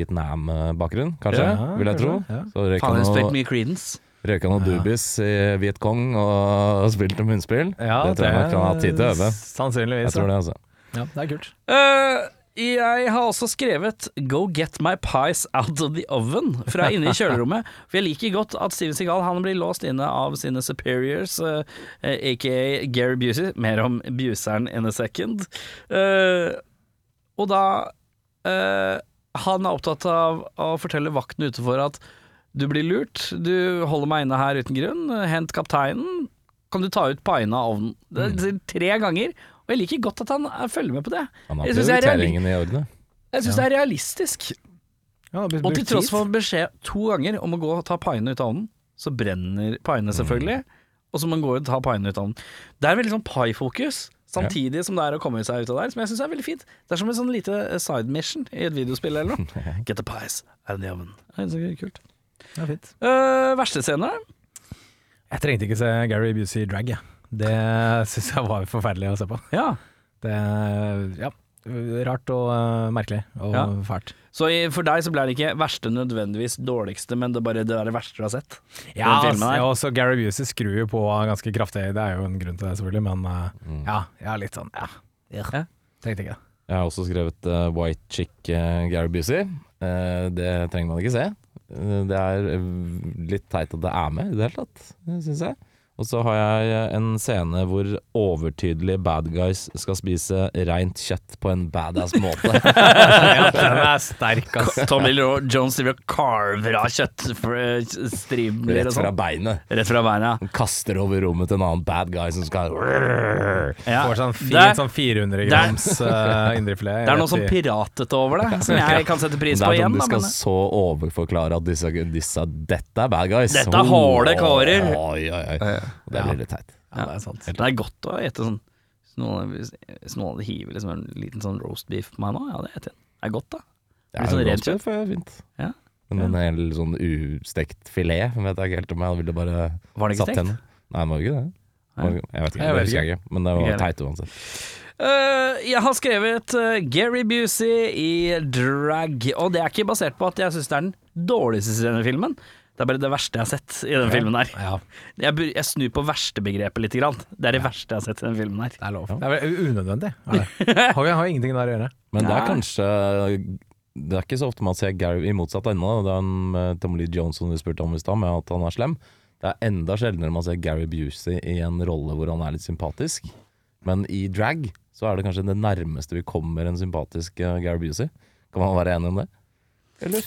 [SPEAKER 2] Nam-Vietnam-bakgrunn, kanskje.
[SPEAKER 3] Ja,
[SPEAKER 2] vil jeg tro.
[SPEAKER 3] kanskje, ja.
[SPEAKER 2] Så
[SPEAKER 1] Faen,
[SPEAKER 2] røyka
[SPEAKER 1] jeg har
[SPEAKER 2] han
[SPEAKER 1] spilt
[SPEAKER 2] noe,
[SPEAKER 1] mye Creedence.
[SPEAKER 2] røyka noe dubis i Vietcong og spilte munnspill.
[SPEAKER 3] Ja,
[SPEAKER 2] det tror jeg nok han har hatt tid til å øve.
[SPEAKER 3] Sannsynligvis.
[SPEAKER 2] Jeg tror det, altså.
[SPEAKER 3] Ja, det er kult.
[SPEAKER 1] Eh, Jeg har også skrevet 'Go get my pies out of the oven' fra inne i kjølerommet. For jeg liker godt at Steven Segal han blir låst inne av sine superiors, eh, eh, aka Gary Busey. Mer om Buseren in a second. Eh, og da eh, Han er opptatt av å fortelle vakten utenfor at du blir lurt, du holder meg inne her uten grunn, hent kapteinen, kan du ta ut paiene av ovnen. Det
[SPEAKER 2] Mm.
[SPEAKER 1] det sier tre ganger, og jeg liker godt at han eh, følger med på det.
[SPEAKER 2] Han har
[SPEAKER 1] Jeg synes jeg er
[SPEAKER 2] prioriteringen i orden. det.
[SPEAKER 1] Jeg syns det er realistisk.
[SPEAKER 3] Ja, det blir
[SPEAKER 1] Og til
[SPEAKER 3] brukt
[SPEAKER 1] tross
[SPEAKER 3] tid.
[SPEAKER 1] for beskjed to ganger om å gå og ta paiene ut av ovnen, så brenner paiene selvfølgelig. Og så må man gå og ta paiene ut av ovnen. Det er veldig sånn pai-fokus, samtidig som det er å komme seg ut av der, som jeg syns er veldig fint. Det er som en sånn lite side mission i et videospill eller noe. Get the pies out of the oven. Det er så kult.
[SPEAKER 3] Ja, fint.
[SPEAKER 1] Uh, verste scene?
[SPEAKER 3] Jeg trengte ikke se Gary Busey i drag, jeg. Det syns jeg var forferdelig å se på.
[SPEAKER 1] Ja.
[SPEAKER 3] Det ja, rart og eh, merkelig og
[SPEAKER 1] Ja.
[SPEAKER 3] fælt.
[SPEAKER 1] Så i- for deg så ble det ikke verste nødvendigvis dårligste, men det er bare det, er det verste du har sett?
[SPEAKER 3] Ja,
[SPEAKER 1] Den filmen
[SPEAKER 3] altså,
[SPEAKER 1] her.
[SPEAKER 3] ja, også Gary Busey skrur jo på ganske kraftig. Det er jo en grunn til det, selvfølgelig, men eh, ja, jeg er litt sånn ja. ja. Tenkte ikke det.
[SPEAKER 2] Jeg har også skrevet eh, White Chick eh, Gary Busey. Eh, det trenger man ikke se. Eh, det er eh, litt teit at det er med i det hele tatt, syns jeg. Og så har jeg eh, en scene hvor overtydelige bad guys skal spise reint kjøtt på en badass måte.
[SPEAKER 3] Ja, den er sterk, ass.
[SPEAKER 1] Tommy Lee Jones driver og carver av kjøttstribler
[SPEAKER 2] Rett
[SPEAKER 1] og
[SPEAKER 2] fra
[SPEAKER 1] sånn.
[SPEAKER 2] beinet.
[SPEAKER 1] Rett fra beina.
[SPEAKER 2] Kaster over rommet til en annen bad guy som skal
[SPEAKER 1] Ja.
[SPEAKER 3] Får sånn fin
[SPEAKER 1] Der-
[SPEAKER 3] sånn 400 grams uh, indrefilet.
[SPEAKER 1] Det er noe sånn piratete over det, som jeg kan sette pris
[SPEAKER 2] Det
[SPEAKER 1] på
[SPEAKER 2] er sånn
[SPEAKER 1] igjen.
[SPEAKER 2] du
[SPEAKER 1] Da,
[SPEAKER 2] skal
[SPEAKER 1] men
[SPEAKER 2] så overforklare at disse, disse Dette er bad guys.
[SPEAKER 1] Dette er harde karer.
[SPEAKER 2] Oi, oi, oi. Det blir litt teit.
[SPEAKER 3] Ja, det er sant.
[SPEAKER 1] det er godt å ete sånn Hvis noen, hvis noen hadde hivet liksom en liten sånn roast beef på meg nå, ja, det eter jeg. Det er godt, da.
[SPEAKER 2] Det
[SPEAKER 1] Litt
[SPEAKER 2] er
[SPEAKER 1] sånn
[SPEAKER 2] jo
[SPEAKER 1] rent
[SPEAKER 2] godt, det er fint.
[SPEAKER 1] Ja.
[SPEAKER 2] Men en hel sånn ustekt filet vet jeg ikke helt om jeg ville bare
[SPEAKER 1] Var det ikke
[SPEAKER 2] satt
[SPEAKER 1] stekt?
[SPEAKER 2] henne. Nei, det var jo ikke det. Det var- Jeg vet ikke,
[SPEAKER 3] Jeg
[SPEAKER 2] det
[SPEAKER 3] vet
[SPEAKER 2] husker jeg ikke. Men det
[SPEAKER 1] Ikke
[SPEAKER 2] var
[SPEAKER 1] heller.
[SPEAKER 2] teit uansett.
[SPEAKER 1] Eh, jeg har skrevet eh, Gary Busey i drag, og det er ikke basert på at jeg syns det er den dårligste scenen i filmen. Det er bare det verste jeg har sett i den filmen her.
[SPEAKER 3] Ja,
[SPEAKER 1] Jeg, bur- jeg snur på verstebegrepet lite grann. Det er det verste jeg har sett i den filmen her.
[SPEAKER 3] det er lov. Det er vel unødvendig. Er det. Har, har jo ingenting der å gjøre.
[SPEAKER 2] Men det er
[SPEAKER 1] Nei.
[SPEAKER 2] kanskje Det er ikke så ofte man ser Gary i motsatt ende. da. Det er en eh, Tommy Lee Johnson du spurte om i stad, med at han er slem. Det er enda sjeldnere man ser Gary Busey i en rolle hvor han er litt sympatisk. Men i drag så er det kanskje det nærmeste vi kommer en sympatisk eh, Gary Busey. Kan man være enig om det? Eller?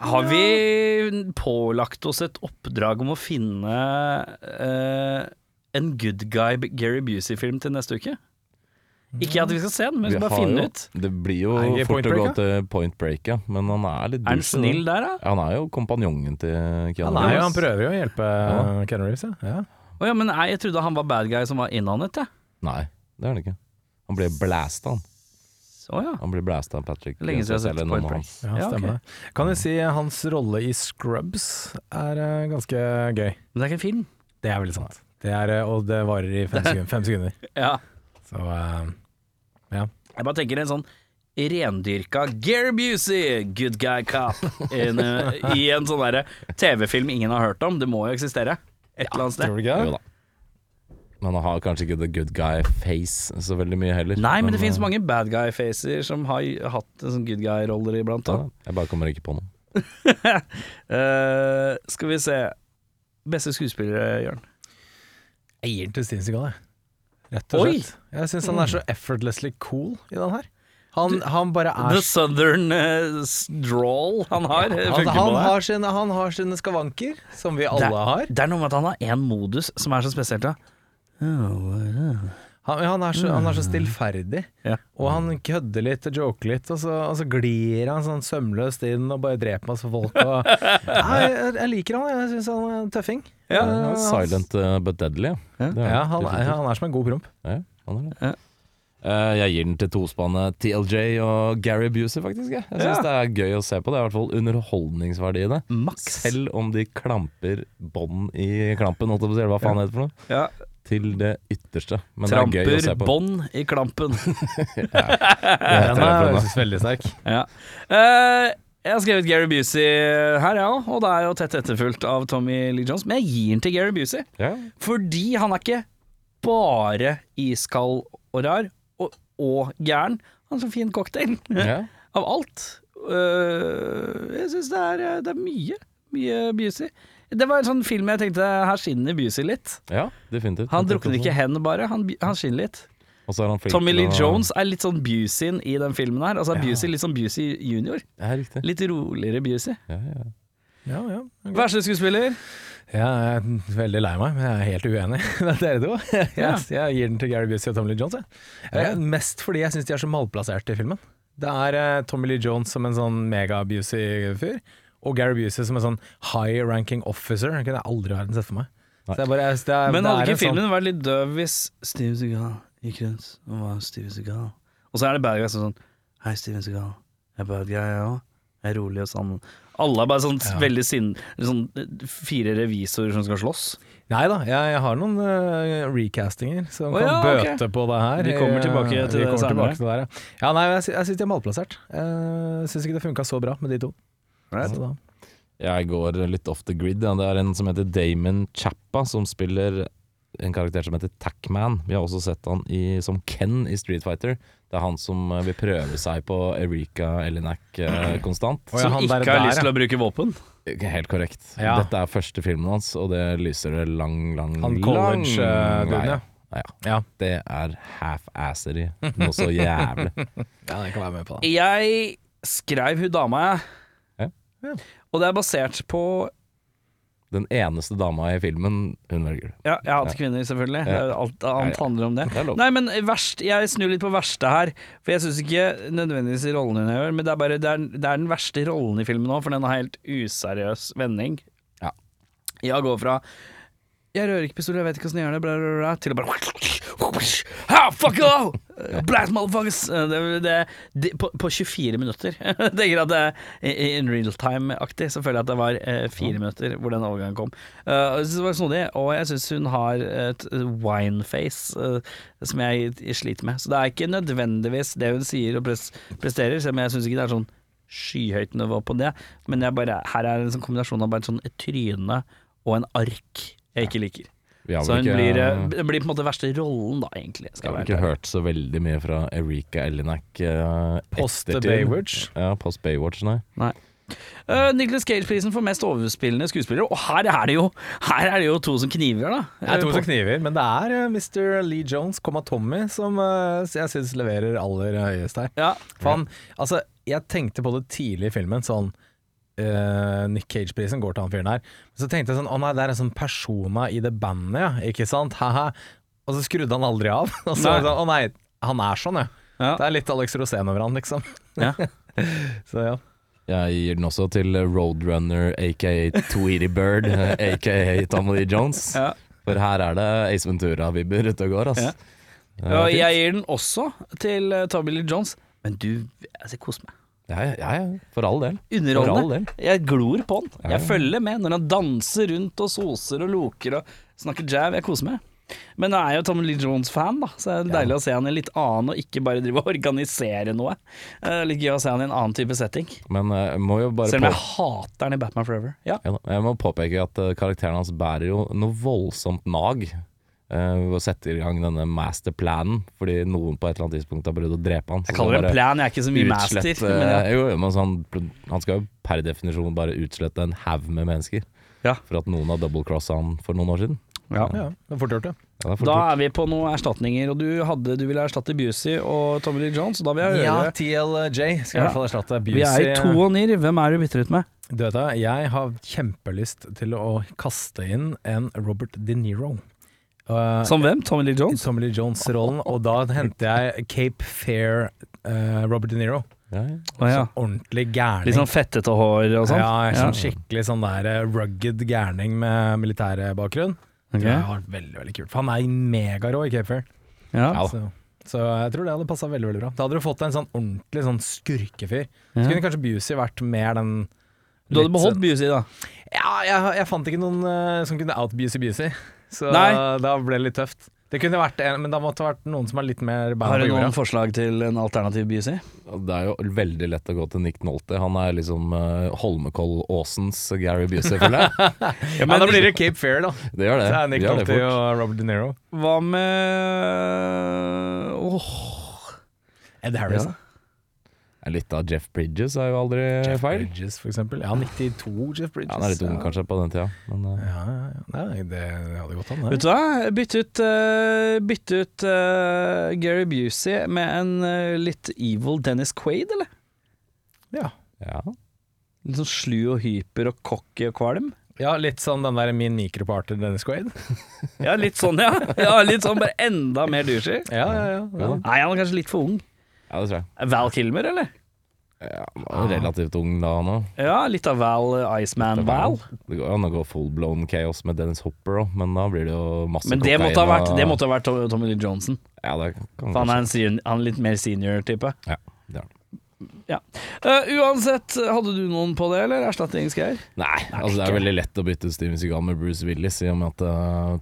[SPEAKER 1] Har vi pålagt oss et oppdrag om å finne eh, en good guy B- Gary Busey-film til neste uke? Ikke at vi skal se den, men vi skal bare
[SPEAKER 2] har
[SPEAKER 1] finne
[SPEAKER 2] jo-
[SPEAKER 1] ut.
[SPEAKER 2] Det blir
[SPEAKER 3] Er det
[SPEAKER 2] jo
[SPEAKER 3] ikke
[SPEAKER 2] fort
[SPEAKER 3] Point
[SPEAKER 2] å gå
[SPEAKER 3] Break,
[SPEAKER 2] til point break, ja. Men han er litt
[SPEAKER 1] Er han
[SPEAKER 2] douche, da.
[SPEAKER 1] snill der, da?
[SPEAKER 2] Ja, Han er jo kompanjongen til Keanu
[SPEAKER 3] Nei, han
[SPEAKER 2] Reeves.
[SPEAKER 3] prøver jo å hjelpe ja. Keanu Reeves, ja. ja.
[SPEAKER 1] Å ja, men nei, jeg trodde han var bad guy som var innandet, jeg.
[SPEAKER 2] Nei, det er han ikke. Han ble blæsta, han.
[SPEAKER 1] Å ja.
[SPEAKER 2] Han ble blæsta av Patrick.
[SPEAKER 1] Lenge siden jeg har sett
[SPEAKER 2] eller
[SPEAKER 1] Point
[SPEAKER 2] noen av
[SPEAKER 1] Break.
[SPEAKER 2] hans.
[SPEAKER 3] Ja,
[SPEAKER 1] Ja, ok.
[SPEAKER 3] stemmer det. Kan jo si hans rolle i Scrubs er eh, ganske gøy.
[SPEAKER 1] Men det er ikke en film.
[SPEAKER 3] Det er veldig sant. Det er, eh, og det varer i fem sekunder. Fem sekunder.
[SPEAKER 1] Ja.
[SPEAKER 3] Så eh,
[SPEAKER 1] Jeg bare tenker en sånn rendyrka Gary Busey, good guy cop, in, eh, i en sånn derre TV-film ingen har hørt om. Det må jo eksistere et eller annet sted.
[SPEAKER 3] tror du ikke
[SPEAKER 2] Jo
[SPEAKER 3] det?
[SPEAKER 2] da. Men han har kanskje ikke the good guy face så veldig mye heller.
[SPEAKER 1] Nei, men det finnes
[SPEAKER 2] eh,
[SPEAKER 1] mange bad guy-facer som har hatt en sånn good guy-roller iblant.
[SPEAKER 2] ja,
[SPEAKER 1] Da.
[SPEAKER 2] Jeg bare kommer ikke på noe.
[SPEAKER 1] Eh, skal vi se Beste skuespillere, Jørn.
[SPEAKER 3] Jeg gir den til Steven Seagal, jeg. Rett og
[SPEAKER 1] Oi!
[SPEAKER 3] slett. Jeg syns han er så effortlessly cool i den her. Han, han bare er
[SPEAKER 1] The Southern eh, s- drawl han har. eh,
[SPEAKER 3] altså, han,
[SPEAKER 1] funker på
[SPEAKER 3] han,
[SPEAKER 1] det.
[SPEAKER 3] har sine, han har sine skavanker, som vi alle
[SPEAKER 1] det, er-
[SPEAKER 3] har.
[SPEAKER 1] det er noe med at han har én modus som er så spesielt. Ja.
[SPEAKER 3] Han, han, er så, han er så stillferdig,
[SPEAKER 1] Ja.
[SPEAKER 3] og han kødder litt og joker litt, og så, og så glir han sånn sømløst inn og bare dreper masse folk. Og, Nei, jeg, jeg liker han, jeg syns han er en tøffing.
[SPEAKER 1] Ja,
[SPEAKER 2] Han er Silent eh, but deadly.
[SPEAKER 1] Ja.
[SPEAKER 2] Det er
[SPEAKER 3] Ja, han,
[SPEAKER 2] definitivt.
[SPEAKER 3] han er som en god promp.
[SPEAKER 2] Ja, han er det.
[SPEAKER 1] Ja.
[SPEAKER 2] Eh, jeg gir den til tospannet TLJ og Gary Busey, faktisk. Jeg, jeg syns det er gøy å se på. Det er i hvert fall underholdningsverdi i det.
[SPEAKER 1] Maks.
[SPEAKER 2] Selv om de klamper bånd i klampen, holdt jeg på å si, eller hva faen det heter for noe,
[SPEAKER 1] Ja.
[SPEAKER 2] til det ytterste. Men det er gøy å
[SPEAKER 1] Tramper
[SPEAKER 2] se på.
[SPEAKER 1] bånd i klampen.
[SPEAKER 2] Jeg
[SPEAKER 3] Den
[SPEAKER 2] tror jeg
[SPEAKER 3] er
[SPEAKER 2] på
[SPEAKER 3] jeg
[SPEAKER 2] det.
[SPEAKER 3] synes, veldig sterk.
[SPEAKER 1] Ja. Eh, jeg har skrevet Gary Busey her, ja, og det er jo tett etterfulgt av Tommy Lee Jones. Men jeg gir den til Gary Busey,
[SPEAKER 2] Ja.
[SPEAKER 1] fordi han er ikke bare iskald og rar, og, og gæren. Han har så fin cocktail
[SPEAKER 2] Ja.
[SPEAKER 1] av alt. Øh, jeg syns det, er- det er mye. Mye Busey. Det var en sånn film jeg tenkte her skinner Busey litt.
[SPEAKER 2] ja, definitivt.
[SPEAKER 1] Han drukner ikke hen, bare. Han, han skinner litt.
[SPEAKER 2] Og så er han flink
[SPEAKER 1] Tommy
[SPEAKER 2] til
[SPEAKER 1] Lee
[SPEAKER 2] å-
[SPEAKER 1] Jones er litt sånn Busey i den filmen her. Altså er Busey litt sånn Busey junior.
[SPEAKER 2] Ja, riktig.
[SPEAKER 1] Litt roligere Busey.
[SPEAKER 2] Ja, ja.
[SPEAKER 3] Ja, ja.
[SPEAKER 1] Verste skuespiller?
[SPEAKER 3] Jeg er veldig lei meg, men jeg er helt uenig med dere to. Jeg, jeg gir den til Gary Busey og Tommy Lee Jones. Jeg. Eh, Mest fordi jeg syns de er så malplasserte i filmen. Det er eh, Tommy Lee Jones som en sånn mega-Busey-fyr, og Gary Busey som en sånn high-ranking officer. Det kunne jeg aldri i verden sett for meg. Så jeg bare, jeg- det er,
[SPEAKER 1] Men
[SPEAKER 3] det
[SPEAKER 1] hadde
[SPEAKER 3] er
[SPEAKER 1] ikke
[SPEAKER 3] en sånn-
[SPEAKER 1] filmen vært litt døv hvis Steven Seagal gikk rundt og var Steven Seagal? Og så er det bad guy som sånn Hei, Steven Seagal. Jeg er bad guy, jeg òg. Jeg er rolig og sann. Alle er bare sånn veldig sinn... Sånn eh, fire revisorer som skal slåss.
[SPEAKER 3] Nei da, jeg, jeg har noen eh, recastinger som
[SPEAKER 1] Å
[SPEAKER 3] kan
[SPEAKER 1] ja, ok.
[SPEAKER 3] bøte på det her.
[SPEAKER 1] Vi kommer tilbake
[SPEAKER 3] Eh,
[SPEAKER 1] til
[SPEAKER 3] vi
[SPEAKER 1] det
[SPEAKER 3] kommer
[SPEAKER 1] senere.
[SPEAKER 3] tilbake til det her, ja. ja, nei, jeg, sy- jeg syns de er malplassert. Uh, syns ikke det funka så bra med de to.
[SPEAKER 1] Right.
[SPEAKER 3] Så da.
[SPEAKER 2] Jeg går litt off the grid. Ja. Det er en som heter Damon Chappa, som spiller en karakter som heter Tackman. Vi har også sett han i, som Ken i Street Fighter. Det er han som eh, vil prøve seg på Erika Elinak eh, konstant.
[SPEAKER 3] Å ja,
[SPEAKER 1] Som
[SPEAKER 3] han
[SPEAKER 1] ikke
[SPEAKER 3] der-
[SPEAKER 1] har
[SPEAKER 3] der,
[SPEAKER 1] lyst
[SPEAKER 3] ja.
[SPEAKER 1] til å bruke våpen.
[SPEAKER 2] Ikke Helt korrekt.
[SPEAKER 3] Ja.
[SPEAKER 2] Dette er første filmen hans, og det lyser det lang, lang,
[SPEAKER 3] Han
[SPEAKER 2] lang
[SPEAKER 3] college-duden,
[SPEAKER 2] vei.
[SPEAKER 3] ja.
[SPEAKER 2] Ja.
[SPEAKER 3] Ja.
[SPEAKER 2] Det er half-asseri noe så jævlig.
[SPEAKER 3] ja, jeg kan være med på det.
[SPEAKER 1] Jeg skrev hun dama,
[SPEAKER 2] Ja.
[SPEAKER 1] jeg. Og det er basert på
[SPEAKER 2] Den eneste dama i filmen, hun velger.
[SPEAKER 1] Ja, jeg hater kvinner, selvfølgelig.
[SPEAKER 2] Ja.
[SPEAKER 1] Det er Alt annet
[SPEAKER 2] ja.
[SPEAKER 1] handler om det.
[SPEAKER 2] Det er lov.
[SPEAKER 1] Nei, men verst, jeg snur litt på verste her. For jeg syns ikke nødvendigvis rollen hun gjør, men det er, bare, det, er, det er den verste rollen i filmen nå, for den har helt useriøs vending.
[SPEAKER 2] Ja.
[SPEAKER 1] Jeg går fra jeg rører ikke pistoler, jeg vet ikke åssen jeg gjør det, bla, bla, bla, til å bare Ha, fuck you all! Blast motherfuckers! Det, det, det, på, på 24 minutter. Jeg tenker at det er i- in real time-aktig, så føler jeg at det var eh, fire minutter hvor den overgangen kom. Eh, og jeg synes det var snodig, og jeg syns hun har et wine-face eh, som jeg, sliter med. Så det er ikke nødvendigvis det hun sier og pres presterer, selv om jeg syns ikke det er sånn skyhøyt nivå på det, men jeg bare, her er en sånn kombinasjon av bare et sånn et tryne og en ark jeg ikke liker.
[SPEAKER 2] Vi har
[SPEAKER 1] Så
[SPEAKER 2] vel
[SPEAKER 1] hun
[SPEAKER 2] ikke,
[SPEAKER 1] blir, eh, det blir på en måte verste rollen, da, egentlig.
[SPEAKER 2] jeg
[SPEAKER 1] Skal
[SPEAKER 2] har
[SPEAKER 1] jeg
[SPEAKER 2] ikke
[SPEAKER 1] være.
[SPEAKER 2] hørt så veldig mye fra Erika Elinak
[SPEAKER 3] Post Baywatch.
[SPEAKER 2] Ja, post Baywatch, nei.
[SPEAKER 1] Nei. Eh, Nicolas Cage-prisen for mest overspillende skuespiller, og her er det jo Her er det jo to som kniver, da.
[SPEAKER 3] Det er to
[SPEAKER 1] Eh,
[SPEAKER 3] som
[SPEAKER 1] på-
[SPEAKER 3] kniver, men det er eh, Mr. Lee Jones, komma Tommy, som eh, jeg syns leverer aller eh, høyest her.
[SPEAKER 1] Ja.
[SPEAKER 3] For han, altså, jeg tenkte på det tidlig i filmen, sånn eh, Nick Cage-prisen går til han fyren her. Så tenkte jeg sånn, å nei, det er en sånn persona i det bandet, ja, ikke sant? Haha. Og så skrudde han aldri av. Og så var det
[SPEAKER 1] Nei.
[SPEAKER 3] sånn, å nei, han er sånn, ja.
[SPEAKER 1] Ja.
[SPEAKER 3] Det er litt Alex Rosén over han, liksom.
[SPEAKER 1] Ja.
[SPEAKER 3] Så ja.
[SPEAKER 2] Jeg gir den også til Roadrunner, aka Tweety Bird, eh, aka Tommy Lee Jones.
[SPEAKER 1] Ja.
[SPEAKER 2] For her er det Ace Ventura-vibber ute og går, ass.
[SPEAKER 1] Ja.
[SPEAKER 2] Det er
[SPEAKER 1] Og
[SPEAKER 2] fint.
[SPEAKER 1] jeg gir den også til eh, Tommy Lee Jones, men du altså, Kos meg.
[SPEAKER 2] Ja, ja, ja, ja, for all del. For all
[SPEAKER 1] Underholdende.
[SPEAKER 2] del.
[SPEAKER 1] Jeg glor på han.
[SPEAKER 2] Ja, ja.
[SPEAKER 1] Jeg følger med når han danser rundt og soser og loker og snakker jav. Jeg koser meg. Men jeg er jo Tommy Lee Jones-fan, da, så det er deilig å se han i litt annen og ikke bare drive og organisere noe. Eh, Litt gøy å se han i en annen type setting.
[SPEAKER 2] Men eh, jeg må jo bare
[SPEAKER 1] Selv om
[SPEAKER 2] på...
[SPEAKER 1] jeg hater han i Batman Forever. Ja.
[SPEAKER 2] Ja, da. Jeg må påpeke at eh, karakteren hans bærer jo noe voldsomt nag eh, ved å sette i gang denne masterplanen, fordi noen på et eller annet tidspunkt har prøvd å drepe han. så
[SPEAKER 1] Jeg kaller det
[SPEAKER 2] bare
[SPEAKER 1] en plan, jeg er ikke så mye
[SPEAKER 2] utslette-
[SPEAKER 1] master. Men ja.
[SPEAKER 2] Jo, jo, men så han, han skal jo per definisjon bare utslette en haug med mennesker
[SPEAKER 1] Ja.
[SPEAKER 2] for at noen har double-crossa han for noen år siden.
[SPEAKER 3] ja det er fort gjort, det.
[SPEAKER 2] Ja, det er fort
[SPEAKER 1] Da
[SPEAKER 2] gjort.
[SPEAKER 1] er vi på noen erstatninger, og du, hadde, du ville erstatte Busey og Tommy Lee Jones, og da vil jeg
[SPEAKER 3] Ja,
[SPEAKER 1] høre
[SPEAKER 3] TLJ skal
[SPEAKER 1] Ja.
[SPEAKER 3] i hvert fall erstatte
[SPEAKER 1] Vi er i to og nier, hvem er du bytter ut med?
[SPEAKER 3] Du vet da, jeg har kjempelyst til å kaste inn en Robert De Niro. Uh,
[SPEAKER 1] Som hvem? Tommy Lee Jones?
[SPEAKER 3] Tommy Lee Jones-rollen, og da henter jeg Cape Fair eh, Robert De Niro.
[SPEAKER 2] Ja, ja.
[SPEAKER 1] Å, Ah, ja.
[SPEAKER 3] Sånn ordentlig gærning.
[SPEAKER 1] Litt sånn fettete hår og sånn?
[SPEAKER 3] Ja, sånn skikkelig sånn der eh, rugged gærning med militærbakgrunn.
[SPEAKER 1] Ok.
[SPEAKER 3] Det var veldig, veldig kult. For han er megarå i Cape Fair.
[SPEAKER 1] Ja.
[SPEAKER 2] Ja.
[SPEAKER 3] Så, så jeg tror det hadde passa veldig, veldig bra. Da hadde du fått en sånn ordentlig sånn skurkefyr. Så
[SPEAKER 1] Ja.
[SPEAKER 3] kunne kanskje Busey vært mer den
[SPEAKER 1] Du hadde
[SPEAKER 3] litt
[SPEAKER 1] beholdt
[SPEAKER 3] sånn-
[SPEAKER 1] Busey, da?
[SPEAKER 3] Ja, jeg, jeg fant ikke noen eh, som kunne out-Busey Busey. Så
[SPEAKER 1] Nei.
[SPEAKER 3] da ble det litt tøft. Det kunne vært en, men da måtte det vært noen som er litt mer
[SPEAKER 1] Har
[SPEAKER 3] beina
[SPEAKER 1] du
[SPEAKER 3] på jorda.
[SPEAKER 1] noen forslag til en alternativ Busey?
[SPEAKER 2] Det er jo veldig lett å gå til Nick Nolte. Han er liksom eh, Holmenkoll-Åsens Gary Busey, føler jeg.
[SPEAKER 3] Ja, men da blir det Cape Fair, da.
[SPEAKER 2] Det gjør det.
[SPEAKER 3] Så er Nick
[SPEAKER 2] Det gjør det
[SPEAKER 3] Nolte
[SPEAKER 2] fort.
[SPEAKER 3] og Robert De Niro.
[SPEAKER 1] Hva med Åh
[SPEAKER 3] Ed Harris.
[SPEAKER 1] Ja.
[SPEAKER 2] Litt av Jeff Bridges er jo aldri
[SPEAKER 3] Jeff
[SPEAKER 2] feil.
[SPEAKER 3] Bridges, for eksempel. Ja, 92 Jeff Bridges.
[SPEAKER 2] Ja, han er litt ung kanskje på den tida, men eh,
[SPEAKER 3] Ja, ja, ja. Nei, det hadde gått an,
[SPEAKER 1] Vet
[SPEAKER 3] det.
[SPEAKER 1] du hva? Bytte ut, eh, bytte ut eh, Gary Busey med en eh, litt evil Dennis Quaid, eller?
[SPEAKER 3] Ja.
[SPEAKER 2] ja.
[SPEAKER 1] Litt sånn slu og hyper og cocky og kvalm.
[SPEAKER 3] ja, litt sånn den der min mikropartner Dennis Quaid.
[SPEAKER 1] Ja, litt sånn, ja. ja litt sånn, Bare enda mer douchey.
[SPEAKER 3] Ja, ja, ja. ja.
[SPEAKER 1] Nei, han er kanskje litt for ung.
[SPEAKER 2] ja, det tror jeg.
[SPEAKER 1] Val Kilmer, eller?
[SPEAKER 2] Ja, han var jo relativt ung da nå.
[SPEAKER 1] Ja, litt av Val eh, Iceman Val.
[SPEAKER 2] Det går jo an å gå full blown chaos med Dennis Hopper òg, men da blir det jo masse
[SPEAKER 1] Men det måtte ha
[SPEAKER 2] kokain
[SPEAKER 1] vært,
[SPEAKER 2] og-
[SPEAKER 1] det måtte ha vært Tom- Tommy Lee Johnson.
[SPEAKER 2] Ja, det kan
[SPEAKER 1] For han er
[SPEAKER 2] kanskje-
[SPEAKER 1] en, sen- han er litt mer senior-type.
[SPEAKER 2] Ja, det er han.
[SPEAKER 1] Ja. Eh, uansett, hadde du noen på det, eller? Erstatningsgreier?
[SPEAKER 2] Nei, altså det er veldig lett å bytte ut Steven Seagal med Bruce Willis, i og med at det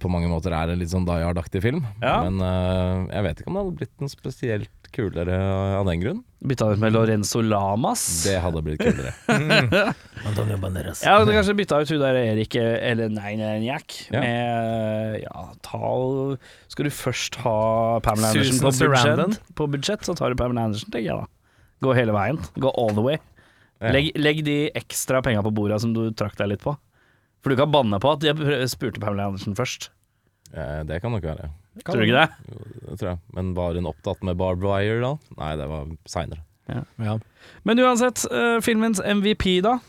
[SPEAKER 2] på mange måter er en litt sånn Die Hard-aktig film.
[SPEAKER 1] Ja.
[SPEAKER 2] Men eh, jeg vet ikke om det hadde blitt noe spesielt kulere av den grunn.
[SPEAKER 1] Bytta ut med Lorenzo Lamas.
[SPEAKER 2] Det hadde blitt kulere.
[SPEAKER 3] Antonio Banderas.
[SPEAKER 1] Jeg hadde kanskje bytta ut hun der Erik eller nei, nei, Jack
[SPEAKER 2] Ja.
[SPEAKER 1] med ja, ta og- Skal du først ha Pamela Andersen
[SPEAKER 3] Susan
[SPEAKER 1] på
[SPEAKER 3] Sarandon.
[SPEAKER 1] budsjett, på budsjett, så tar du Pamela Andersen, tenker jeg da. Gå hele veien. Gå all the way.
[SPEAKER 2] Ja.
[SPEAKER 1] Legg, legg de ekstra penga på bordet som du trakk deg litt på. For du kan banne på at jeg prø- spurte Pamela Andersen først.
[SPEAKER 2] Eh, det kan nok være.
[SPEAKER 1] Tror du ikke det?
[SPEAKER 2] Det tror jeg. Men var hun opptatt med Barb Wire da? Nei, det var seinere.
[SPEAKER 3] Ja.
[SPEAKER 1] Men uansett, eh, filmens MVP, da.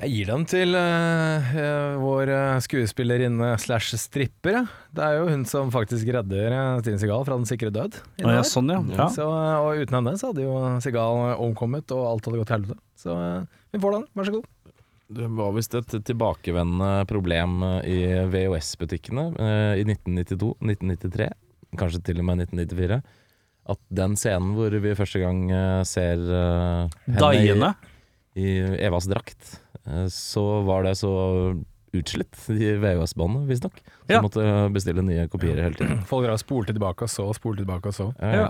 [SPEAKER 3] Jeg gir den til eh, eh, vår eh, skuespillerinne slash stripper. jeg. Det er jo hun som faktisk redder uh, Steven Seagal fra den sikre død. i
[SPEAKER 1] Å,
[SPEAKER 3] det
[SPEAKER 1] ja,
[SPEAKER 3] her.
[SPEAKER 1] sånn, ja. ja.
[SPEAKER 3] Så, eh, og uten henne så hadde jo Seagal omkommet, og alt hadde gått til helvete. Så eh, vi får den, vær så god.
[SPEAKER 2] Det var visst et tilbakevendende problem eh, i VHS-butikkene eh, i 1992, 1993, kanskje til og med 1994. At den scenen hvor vi første gang eh, ser eh,
[SPEAKER 1] Daiene.
[SPEAKER 2] i, i Evas drakt, eh, så var det så utslitt, de VHS-båndene, visstnok. Så
[SPEAKER 1] Ja.
[SPEAKER 2] måtte eh, bestille nye kopier hele tiden. Eh,
[SPEAKER 3] Folk drar og spoler tilbake og så, og spoler tilbake og så.
[SPEAKER 2] Ja, ja.
[SPEAKER 1] Ja.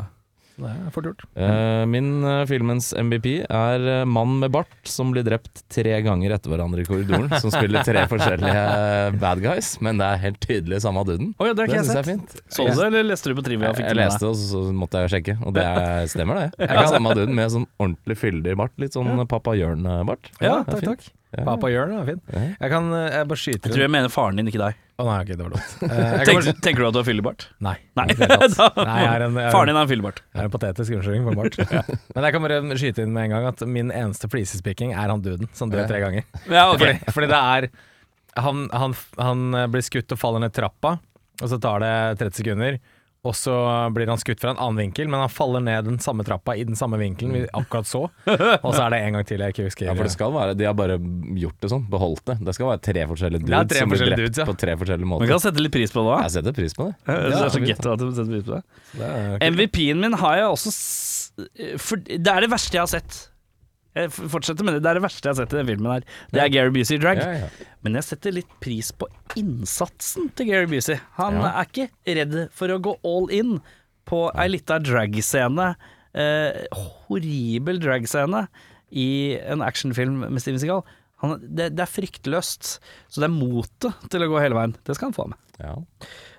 [SPEAKER 3] Så det er fort gjort.
[SPEAKER 2] Eh, min eh, filmens MVP er eh, mann med bart som blir drept tre ganger etter hverandre i korridoren. Som spiller tre forskjellige eh, bad guys, men det er helt tydelig samme duden.
[SPEAKER 1] Å ja, det har ikke
[SPEAKER 2] Det
[SPEAKER 1] jeg
[SPEAKER 2] syns jeg er
[SPEAKER 1] sett.
[SPEAKER 2] fint.
[SPEAKER 1] Så du det, eller leste du på Trivia? og
[SPEAKER 2] Jeg,
[SPEAKER 1] fikk
[SPEAKER 2] jeg
[SPEAKER 1] det med
[SPEAKER 2] leste det, og så så måtte jeg jo sjekke, og det er- stemmer det. Jeg er samme duden med sånn ordentlig fyldig bart. Litt sånn Papa Jørn-bart.
[SPEAKER 3] Ja,
[SPEAKER 2] det er
[SPEAKER 3] takk,
[SPEAKER 2] fint.
[SPEAKER 3] takk. Papa gjør det, det er
[SPEAKER 2] Ja.
[SPEAKER 3] fint. Jeg kan eh, jeg bare
[SPEAKER 1] Jeg
[SPEAKER 3] skyter
[SPEAKER 1] tror jeg mener faren din, ikke deg.
[SPEAKER 3] Å nei, ok, det var dumt. Eh, jeg kan
[SPEAKER 1] Tenker,
[SPEAKER 3] bare-
[SPEAKER 1] tenker du at du har fyllebart?
[SPEAKER 3] Nei.
[SPEAKER 1] Nei.
[SPEAKER 3] i det hele tatt.
[SPEAKER 1] Da-
[SPEAKER 3] Nei, jeg er en- jeg er en-
[SPEAKER 1] Faren din har fyllebart.
[SPEAKER 3] Det er en patetisk unnskyldning for bart. Men jeg kan bare skyte inn med en gang at min eneste flisespikking er han duden som dør tre ganger.
[SPEAKER 1] Ja, ok.
[SPEAKER 3] Fordi, fordi det er han, han, han blir skutt og faller ned trappa, og så tar det 30 sekunder. Og så blir han skutt fra en annen vinkel, men han faller ned den samme trappa i den samme vinkelen vi akkurat så. Og så er det en gang til jeg ikke husker.
[SPEAKER 2] Ja, for det skal være, De har bare gjort det sånn, beholdt det. Det skal være tre forskjellige
[SPEAKER 3] Det er
[SPEAKER 2] dudes
[SPEAKER 3] tre
[SPEAKER 2] som blir
[SPEAKER 3] forskjellige
[SPEAKER 2] drept
[SPEAKER 3] dudes, ja.
[SPEAKER 2] på tre forskjellige
[SPEAKER 1] Man
[SPEAKER 2] måter.
[SPEAKER 1] kan sette litt pris på det òg.
[SPEAKER 2] Jeg setter pris på det.
[SPEAKER 1] Det er så
[SPEAKER 2] Ja.
[SPEAKER 1] gett at du setter pris på det.
[SPEAKER 3] det er,
[SPEAKER 1] MVP-en min har jeg også s- for, Det er det verste jeg har sett. Jeg f- fortsetter med det. Det er det verste jeg har sett i den filmen her. Det er Gary Busey i drag.
[SPEAKER 2] Ja, ja.
[SPEAKER 1] Men jeg setter litt pris på innsatsen til Gary Busey. Han
[SPEAKER 2] Ja.
[SPEAKER 1] er ikke redd for å gå all in på ei lita dragscene, eh, horribel dragscene, i en actionfilm med Steven Seagal. Han, det, det er fryktløst, så det er motet til å gå hele veien. Det skal han få med.
[SPEAKER 2] Ja.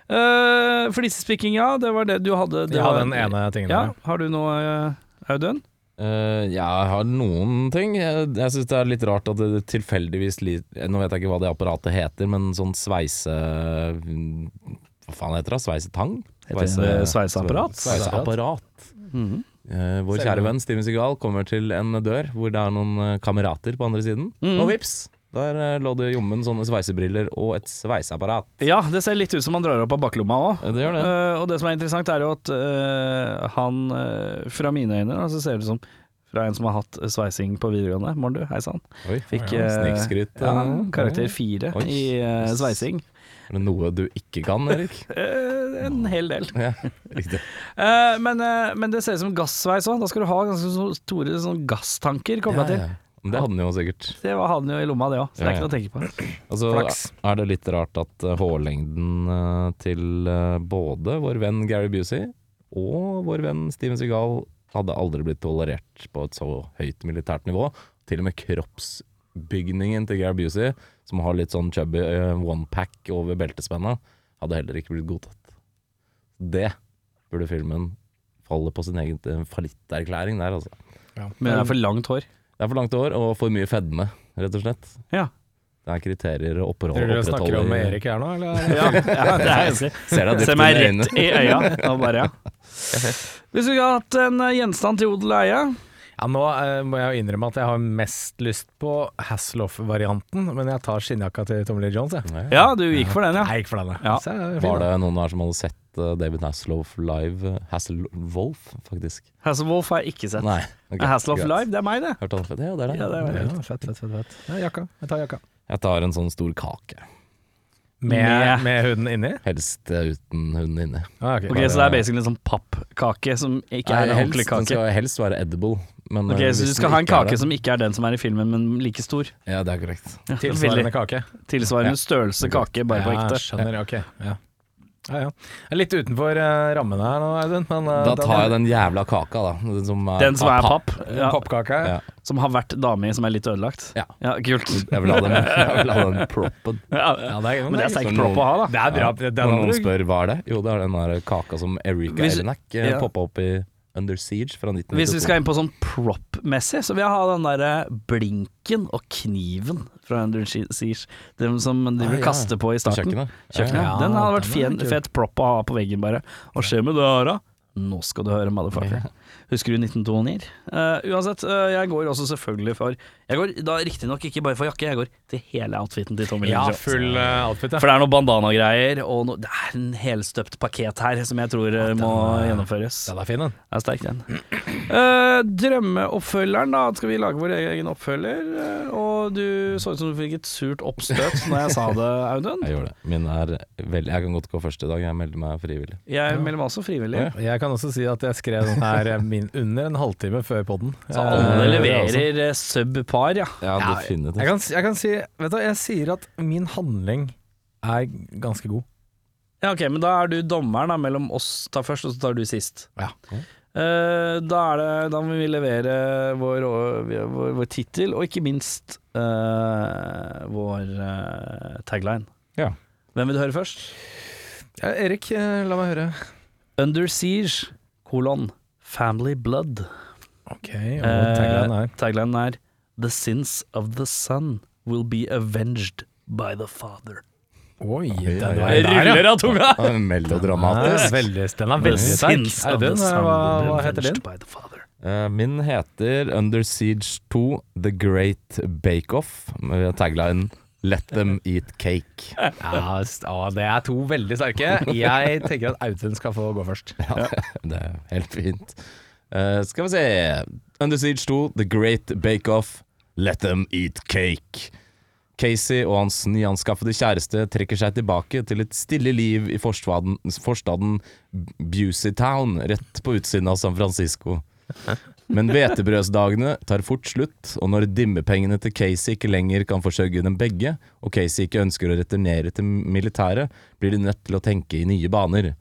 [SPEAKER 1] Uh, Flisespikking, ja. Det var det du hadde. Det
[SPEAKER 3] jeg
[SPEAKER 1] var,
[SPEAKER 3] har den ene tingen
[SPEAKER 1] Ja,
[SPEAKER 3] der.
[SPEAKER 1] har du noe, eh, Audun?
[SPEAKER 2] Eh, ja, jeg har noen ting. Jeg, jeg syns det er litt rart at det tilfeldigvis li- Nå vet jeg ikke hva det apparatet heter, men sånn sveise... Hva faen heter det? Sveisetang?
[SPEAKER 1] Heter det eh, sveiseapparat? Mhm.
[SPEAKER 2] Sveiseapparat. Eh, vår kjære venn Steven Seagal kommer til en dør hvor det er noen eh, kamerater på andre siden,
[SPEAKER 1] Mhm.
[SPEAKER 2] og vips! Der eh, lå det jommen sånne sveisebriller og et sveiseapparat.
[SPEAKER 1] Ja, det ser litt ut som han drar opp av baklomma òg.
[SPEAKER 2] Ja, det gjør det.
[SPEAKER 1] og Eh, det som er interessant, er jo at eh, han, eh, fra mine øyne, da, så ser det ut som fra en som har hatt sveising på videregående. Morn du, hei sann.
[SPEAKER 2] Oi,
[SPEAKER 1] Fikk
[SPEAKER 2] ja,
[SPEAKER 1] eh,
[SPEAKER 2] snikskryt.
[SPEAKER 1] ja, karakter fire
[SPEAKER 2] Oi.
[SPEAKER 1] i eh, sveising.
[SPEAKER 2] Er det noe du ikke kan, Erik?
[SPEAKER 1] Eh, en hel del.
[SPEAKER 2] ja, riktig.
[SPEAKER 1] Eh, men, eh, men det ser ut som gassveis òg. Da skal du ha ganske så store sånn gasstanker kobla
[SPEAKER 2] Ja, ja. Men Det hadde han jo sikkert.
[SPEAKER 1] til. Det var han jo i lomma, det òg, så det
[SPEAKER 2] Ja,
[SPEAKER 1] er ikke
[SPEAKER 2] ja.
[SPEAKER 1] noe å tenke på.
[SPEAKER 2] Altså,
[SPEAKER 3] Flaks.
[SPEAKER 2] Er det litt rart at eh, hårlengden eh, til eh, både vår venn Gary Busey og vår venn Steven Seagal hadde aldri blitt tolerert på et så høyt militært nivå. Til og med kroppsbygningen til Gary Busey, som har litt sånn chubby eh, one-pack over beltespenna, hadde heller ikke blitt godtatt. Det burde filmen faller på sin egen eh, fallitterklæring der, altså.
[SPEAKER 5] Men det er for langt hår.
[SPEAKER 2] Det er for langt hår og for mye fedme, rett og slett.
[SPEAKER 5] Ja.
[SPEAKER 2] Det er kriterier å opprettholde.
[SPEAKER 3] Tror du du snakker om
[SPEAKER 2] opprettholde-
[SPEAKER 3] Erik her nå, eller?
[SPEAKER 5] Ja, ja det er ganske
[SPEAKER 2] Ser deg
[SPEAKER 5] Se
[SPEAKER 2] dypt
[SPEAKER 5] meg
[SPEAKER 2] inn i øynene.
[SPEAKER 5] rett i øya. Nå bare, ja. Hvis du skulle hatt en eh, gjenstand til odel og eie
[SPEAKER 3] Ja, nå eh, må jeg jo innrømme at jeg har mest lyst på Hasselhoff-varianten, men jeg tar skinnjakka til Tommy Lee Jones, jeg.
[SPEAKER 2] Ja.
[SPEAKER 5] Ja, du gikk for den, ja.
[SPEAKER 3] Jeg gikk for denne.
[SPEAKER 5] Ja.
[SPEAKER 3] Så jeg er fin,
[SPEAKER 2] Var
[SPEAKER 3] da.
[SPEAKER 2] det noen her som hadde sett eh, David Hasselhoff live? Hasselwolf, faktisk.
[SPEAKER 1] Hasselwolf har jeg ikke sett.
[SPEAKER 2] Nei. ok,
[SPEAKER 1] Hasselhoff
[SPEAKER 2] greit.
[SPEAKER 1] Live, det er meg, det.
[SPEAKER 2] Hørte han fett? Ja, det er det.
[SPEAKER 1] Ja, det er det.
[SPEAKER 3] Ja, fett, fett, fett, fett. Ja, jakka. Jeg tar jakka.
[SPEAKER 2] Jeg tar en sånn stor kake.
[SPEAKER 3] Med, med huden inni?
[SPEAKER 2] Helst eh, uten hunden inne.
[SPEAKER 3] Ah,
[SPEAKER 1] Ok, Så det er basically en sånn pappkake som ikke er
[SPEAKER 2] Nei,
[SPEAKER 1] en
[SPEAKER 2] helst-
[SPEAKER 1] ordentlig
[SPEAKER 2] Den
[SPEAKER 1] kake.
[SPEAKER 2] skal helst være edible. Men,
[SPEAKER 1] Ok,
[SPEAKER 2] eh,
[SPEAKER 1] Så
[SPEAKER 2] hvis
[SPEAKER 1] du skal
[SPEAKER 2] den
[SPEAKER 1] ha en
[SPEAKER 2] ikke er
[SPEAKER 1] kake
[SPEAKER 2] det-
[SPEAKER 1] som ikke er den som er i filmen, men like stor.
[SPEAKER 2] Ja, det er korrekt.
[SPEAKER 1] Ja,
[SPEAKER 3] Tilsvarende
[SPEAKER 1] veldig.
[SPEAKER 3] kake.
[SPEAKER 1] Tilsvarende størrelse kake, bare på
[SPEAKER 3] Ja,
[SPEAKER 1] ekte.
[SPEAKER 3] skjønner. Ok. Ja. Ja, ja. Jeg er litt utenfor eh, rammene her nå, Audun. Men, eh,
[SPEAKER 2] Da tar jeg den jævla kaka, da. Den som er,
[SPEAKER 1] Den som
[SPEAKER 2] av
[SPEAKER 1] er papp, ja,
[SPEAKER 3] Pappkaka.
[SPEAKER 2] Ja.
[SPEAKER 1] som har vært dame i, som er litt ødelagt.
[SPEAKER 2] Ja. Mm.
[SPEAKER 1] Ja, kult.
[SPEAKER 2] Jeg vil ha den, jeg vil ha den proppen.
[SPEAKER 1] Ja,
[SPEAKER 3] Ja, det er,
[SPEAKER 1] Men det er sterkt
[SPEAKER 2] Som
[SPEAKER 1] propp å ha, da.
[SPEAKER 3] Det er bra.
[SPEAKER 2] Ja.
[SPEAKER 3] Den
[SPEAKER 2] Når noen
[SPEAKER 3] hadde du-
[SPEAKER 2] spør hva er det Jo, det er den der kaka som Erika
[SPEAKER 1] Hvis-
[SPEAKER 2] Elenak
[SPEAKER 1] ja.
[SPEAKER 2] poppa opp i Under Siege fra 1992.
[SPEAKER 1] Hvis vi skal inn på sånn prop-messig, så vil jeg ha den derre blinken og kniven fra Under Siege. Den som de
[SPEAKER 2] Ah,
[SPEAKER 1] vil
[SPEAKER 2] ja.
[SPEAKER 1] kaste på i
[SPEAKER 2] På
[SPEAKER 1] starten.
[SPEAKER 2] kjøkkenet.
[SPEAKER 1] Kjøkkenet.
[SPEAKER 3] Ja,
[SPEAKER 2] Ja,
[SPEAKER 1] den hadde vært
[SPEAKER 3] den
[SPEAKER 1] fin,
[SPEAKER 3] er kul.
[SPEAKER 1] fet prop å ha på veggen, bare. Hva skjer med det her, da? Nå skal du høre, motherfucker. Husker du 1929? Eh, uansett, eh, jeg går også selvfølgelig for Jeg går da riktignok ikke bare for jakke, jeg går til hele outfiten til Tommy Lee
[SPEAKER 3] Ja,
[SPEAKER 1] Jones.
[SPEAKER 3] full eh, outfit, ja.
[SPEAKER 1] For det er noen bandana-greier, og noe- det er en helstøpt pakket her som jeg tror eh, må gjennomføres.
[SPEAKER 3] Den er fin, den.
[SPEAKER 1] Det er sterk, den. Eh, drømmeoppfølgeren, da. Skal vi lage vår egen oppfølger? Eh, og du så ut som du fikk et surt oppstøt når jeg sa det, Audun.
[SPEAKER 2] Jeg gjør det. Min er veldig Jeg kan godt gå først i dag. Jeg melder meg frivillig.
[SPEAKER 1] Jeg melder meg også frivillig.
[SPEAKER 3] Jeg kan også si at jeg skrev den her eh, min under en halvtime før podden.
[SPEAKER 1] Så alle
[SPEAKER 2] Eh,
[SPEAKER 3] altså.
[SPEAKER 1] leverer eh, subpar, ja.
[SPEAKER 2] Ja,
[SPEAKER 3] Ja,
[SPEAKER 2] definitivt.
[SPEAKER 3] Jeg kan, si- jeg kan si Vet du, jeg sier at min handling er ganske god.
[SPEAKER 1] ja. Ok, men da er du dommeren da, mellom oss tar først, og så tar du sist.
[SPEAKER 3] Ja.
[SPEAKER 1] Eh, da, er det, da må vi levere vår, vår, vår tittel, og ikke minst eh, vår eh, tagline.
[SPEAKER 2] Ja.
[SPEAKER 1] Hvem vil du høre først?
[SPEAKER 3] Ja, Erik, eh, la meg høre.
[SPEAKER 1] Under siege, kolon, family blood. Eh,
[SPEAKER 3] Ok, og taglinen er
[SPEAKER 1] Taglinen er The sins of the son will be avenged by the father.
[SPEAKER 3] Oi,
[SPEAKER 2] Oi,
[SPEAKER 3] den
[SPEAKER 2] oi,
[SPEAKER 3] er
[SPEAKER 2] oi.
[SPEAKER 3] der, ja.
[SPEAKER 1] av tunga!
[SPEAKER 2] Det er Melodramatisk.
[SPEAKER 3] veldig, den er
[SPEAKER 1] The
[SPEAKER 3] veldig sterk.
[SPEAKER 1] sins of the
[SPEAKER 3] Audun,
[SPEAKER 1] son
[SPEAKER 3] hva,
[SPEAKER 1] will be
[SPEAKER 3] hva heter din?
[SPEAKER 1] avenged by the father.
[SPEAKER 2] Eh, Min heter Under Siege 2 The Great Bakeoff. Taglinen Let them eat cake.
[SPEAKER 3] Ja, s- å, det er to veldig sterke. Jeg tenker at Audun skal få gå først.
[SPEAKER 2] Det er helt fint. Eh, skal vi se Under Siege 2 The Great Bakeoff Let them eat cake. Casey og hans nyanskaffede kjæreste trekker seg tilbake til et stille liv i forstaden, forstaden Busey Town, rett på utsiden av San Francisco. Men hvetebrødsdagene tar fort slutt, og når dimmepengene til Casey ikke lenger kan forsørge dem begge, og Casey ikke ønsker å returnere til militæret, blir de nødt til å tenke i nye baner.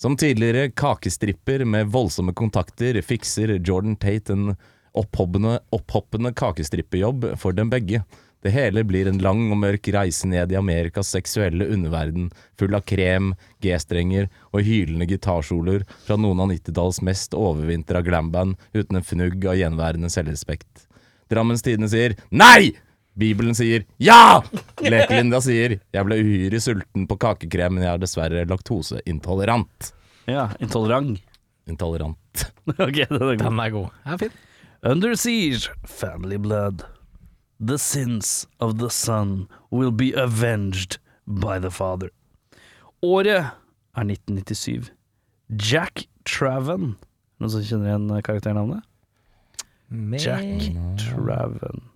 [SPEAKER 2] Som tidligere kakestripper med voldsomme kontakter fikser Jordan Tate en opphoppende, opphoppende kakestrippejobb for dem begge. Det hele blir en lang og mørk reise ned i Amerikas seksuelle underverden, full av krem, G-strenger og hylende gitarsoloer fra noen av 90-tallets mest overvintra glamband uten en fnugg av gjenværende selvrespekt. Drammens Tidende sier nei! Bibelen sier ja! Lekelinda sier jeg ble uhyre sulten på kakekrem, men jeg er dessverre laktoseintolerant.
[SPEAKER 1] Ja, intolerant.
[SPEAKER 2] Intolerant.
[SPEAKER 1] ok, den er god.
[SPEAKER 3] Den er god. Den er fin.
[SPEAKER 1] Under siege, family blood. The sins of the son will be avenged by the father. Året er 1997. Jack Traven Noen som kjenner igjen karakternavnet? Jack Traven.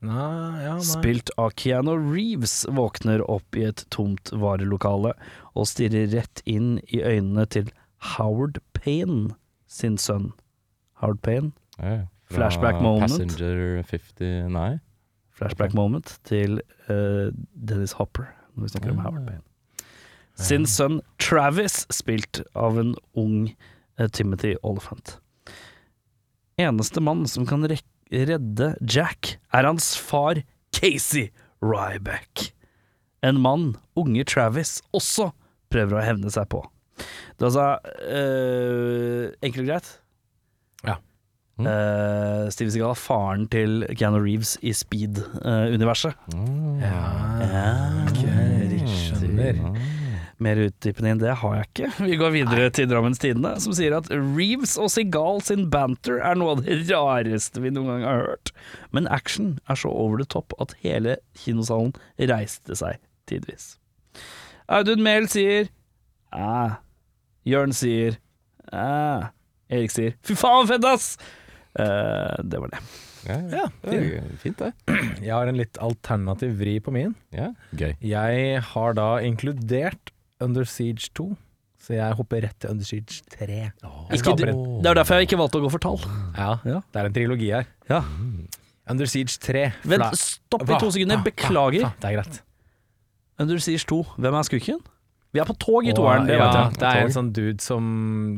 [SPEAKER 3] Nei, ja, nei.
[SPEAKER 1] Spilt av Keanu Reeves våkner opp i et tomt varelokale og stirrer rett inn i øynene til Howard Payne sin sønn. Howard Payne, Flashback moment.
[SPEAKER 2] Passenger 50 Nei.
[SPEAKER 1] flashback moment til eh, Dennis Hopper, når vi snakker om Howard Payne. Sin sønn Travis, spilt av en ung eh, Timothy Oliphant. Eneste mann som kan rek redde Jack, er hans far Casey Ryback. En mann unge Travis også prøver å hevne seg på. Det er altså eh, enkelt og greit.
[SPEAKER 3] Ja.
[SPEAKER 2] Mm.
[SPEAKER 1] Eh, Steve Seagal er faren til Keanu Reeves i eh, Speed-universet.
[SPEAKER 2] Ah.
[SPEAKER 1] Ah,
[SPEAKER 3] Ah, skjønner.
[SPEAKER 1] Mer utdypende enn det har jeg ikke. Vi går videre til Drammens Tidende, som sier at Reeves og Seagal sin banter er noe av det rareste vi noen gang har hørt. Men action er så over the top at hele kinosalen reiste seg, tidvis. Audun Mehl sier æ. Jørn sier æ. Erik sier fy faen, fett ass! Eh, det var det.
[SPEAKER 2] Ja, det er jo fint, det.
[SPEAKER 3] Jeg har en litt alternativ vri på min.
[SPEAKER 2] Ja, gøy.
[SPEAKER 3] Jeg har da inkludert Under Siege 2, så jeg hopper rett til Under Siege 3. Jeg
[SPEAKER 1] Ikke,
[SPEAKER 3] skaper en. Mm.
[SPEAKER 1] det er derfor jeg ikke valgte å gå for tall.
[SPEAKER 3] Ja, det er en trilogi her. Mm.
[SPEAKER 1] Ja.
[SPEAKER 3] Under Siege 3. for
[SPEAKER 1] Vent,
[SPEAKER 3] da-
[SPEAKER 1] stopp i to sekunder.
[SPEAKER 3] Hva?
[SPEAKER 1] Beklager.
[SPEAKER 3] Hva? Det er greit.
[SPEAKER 1] Men du sier to. Hvem er skurken? Vi er på tog i toeren, det
[SPEAKER 3] ja,
[SPEAKER 1] vet jeg.
[SPEAKER 3] Det er en sånn dude som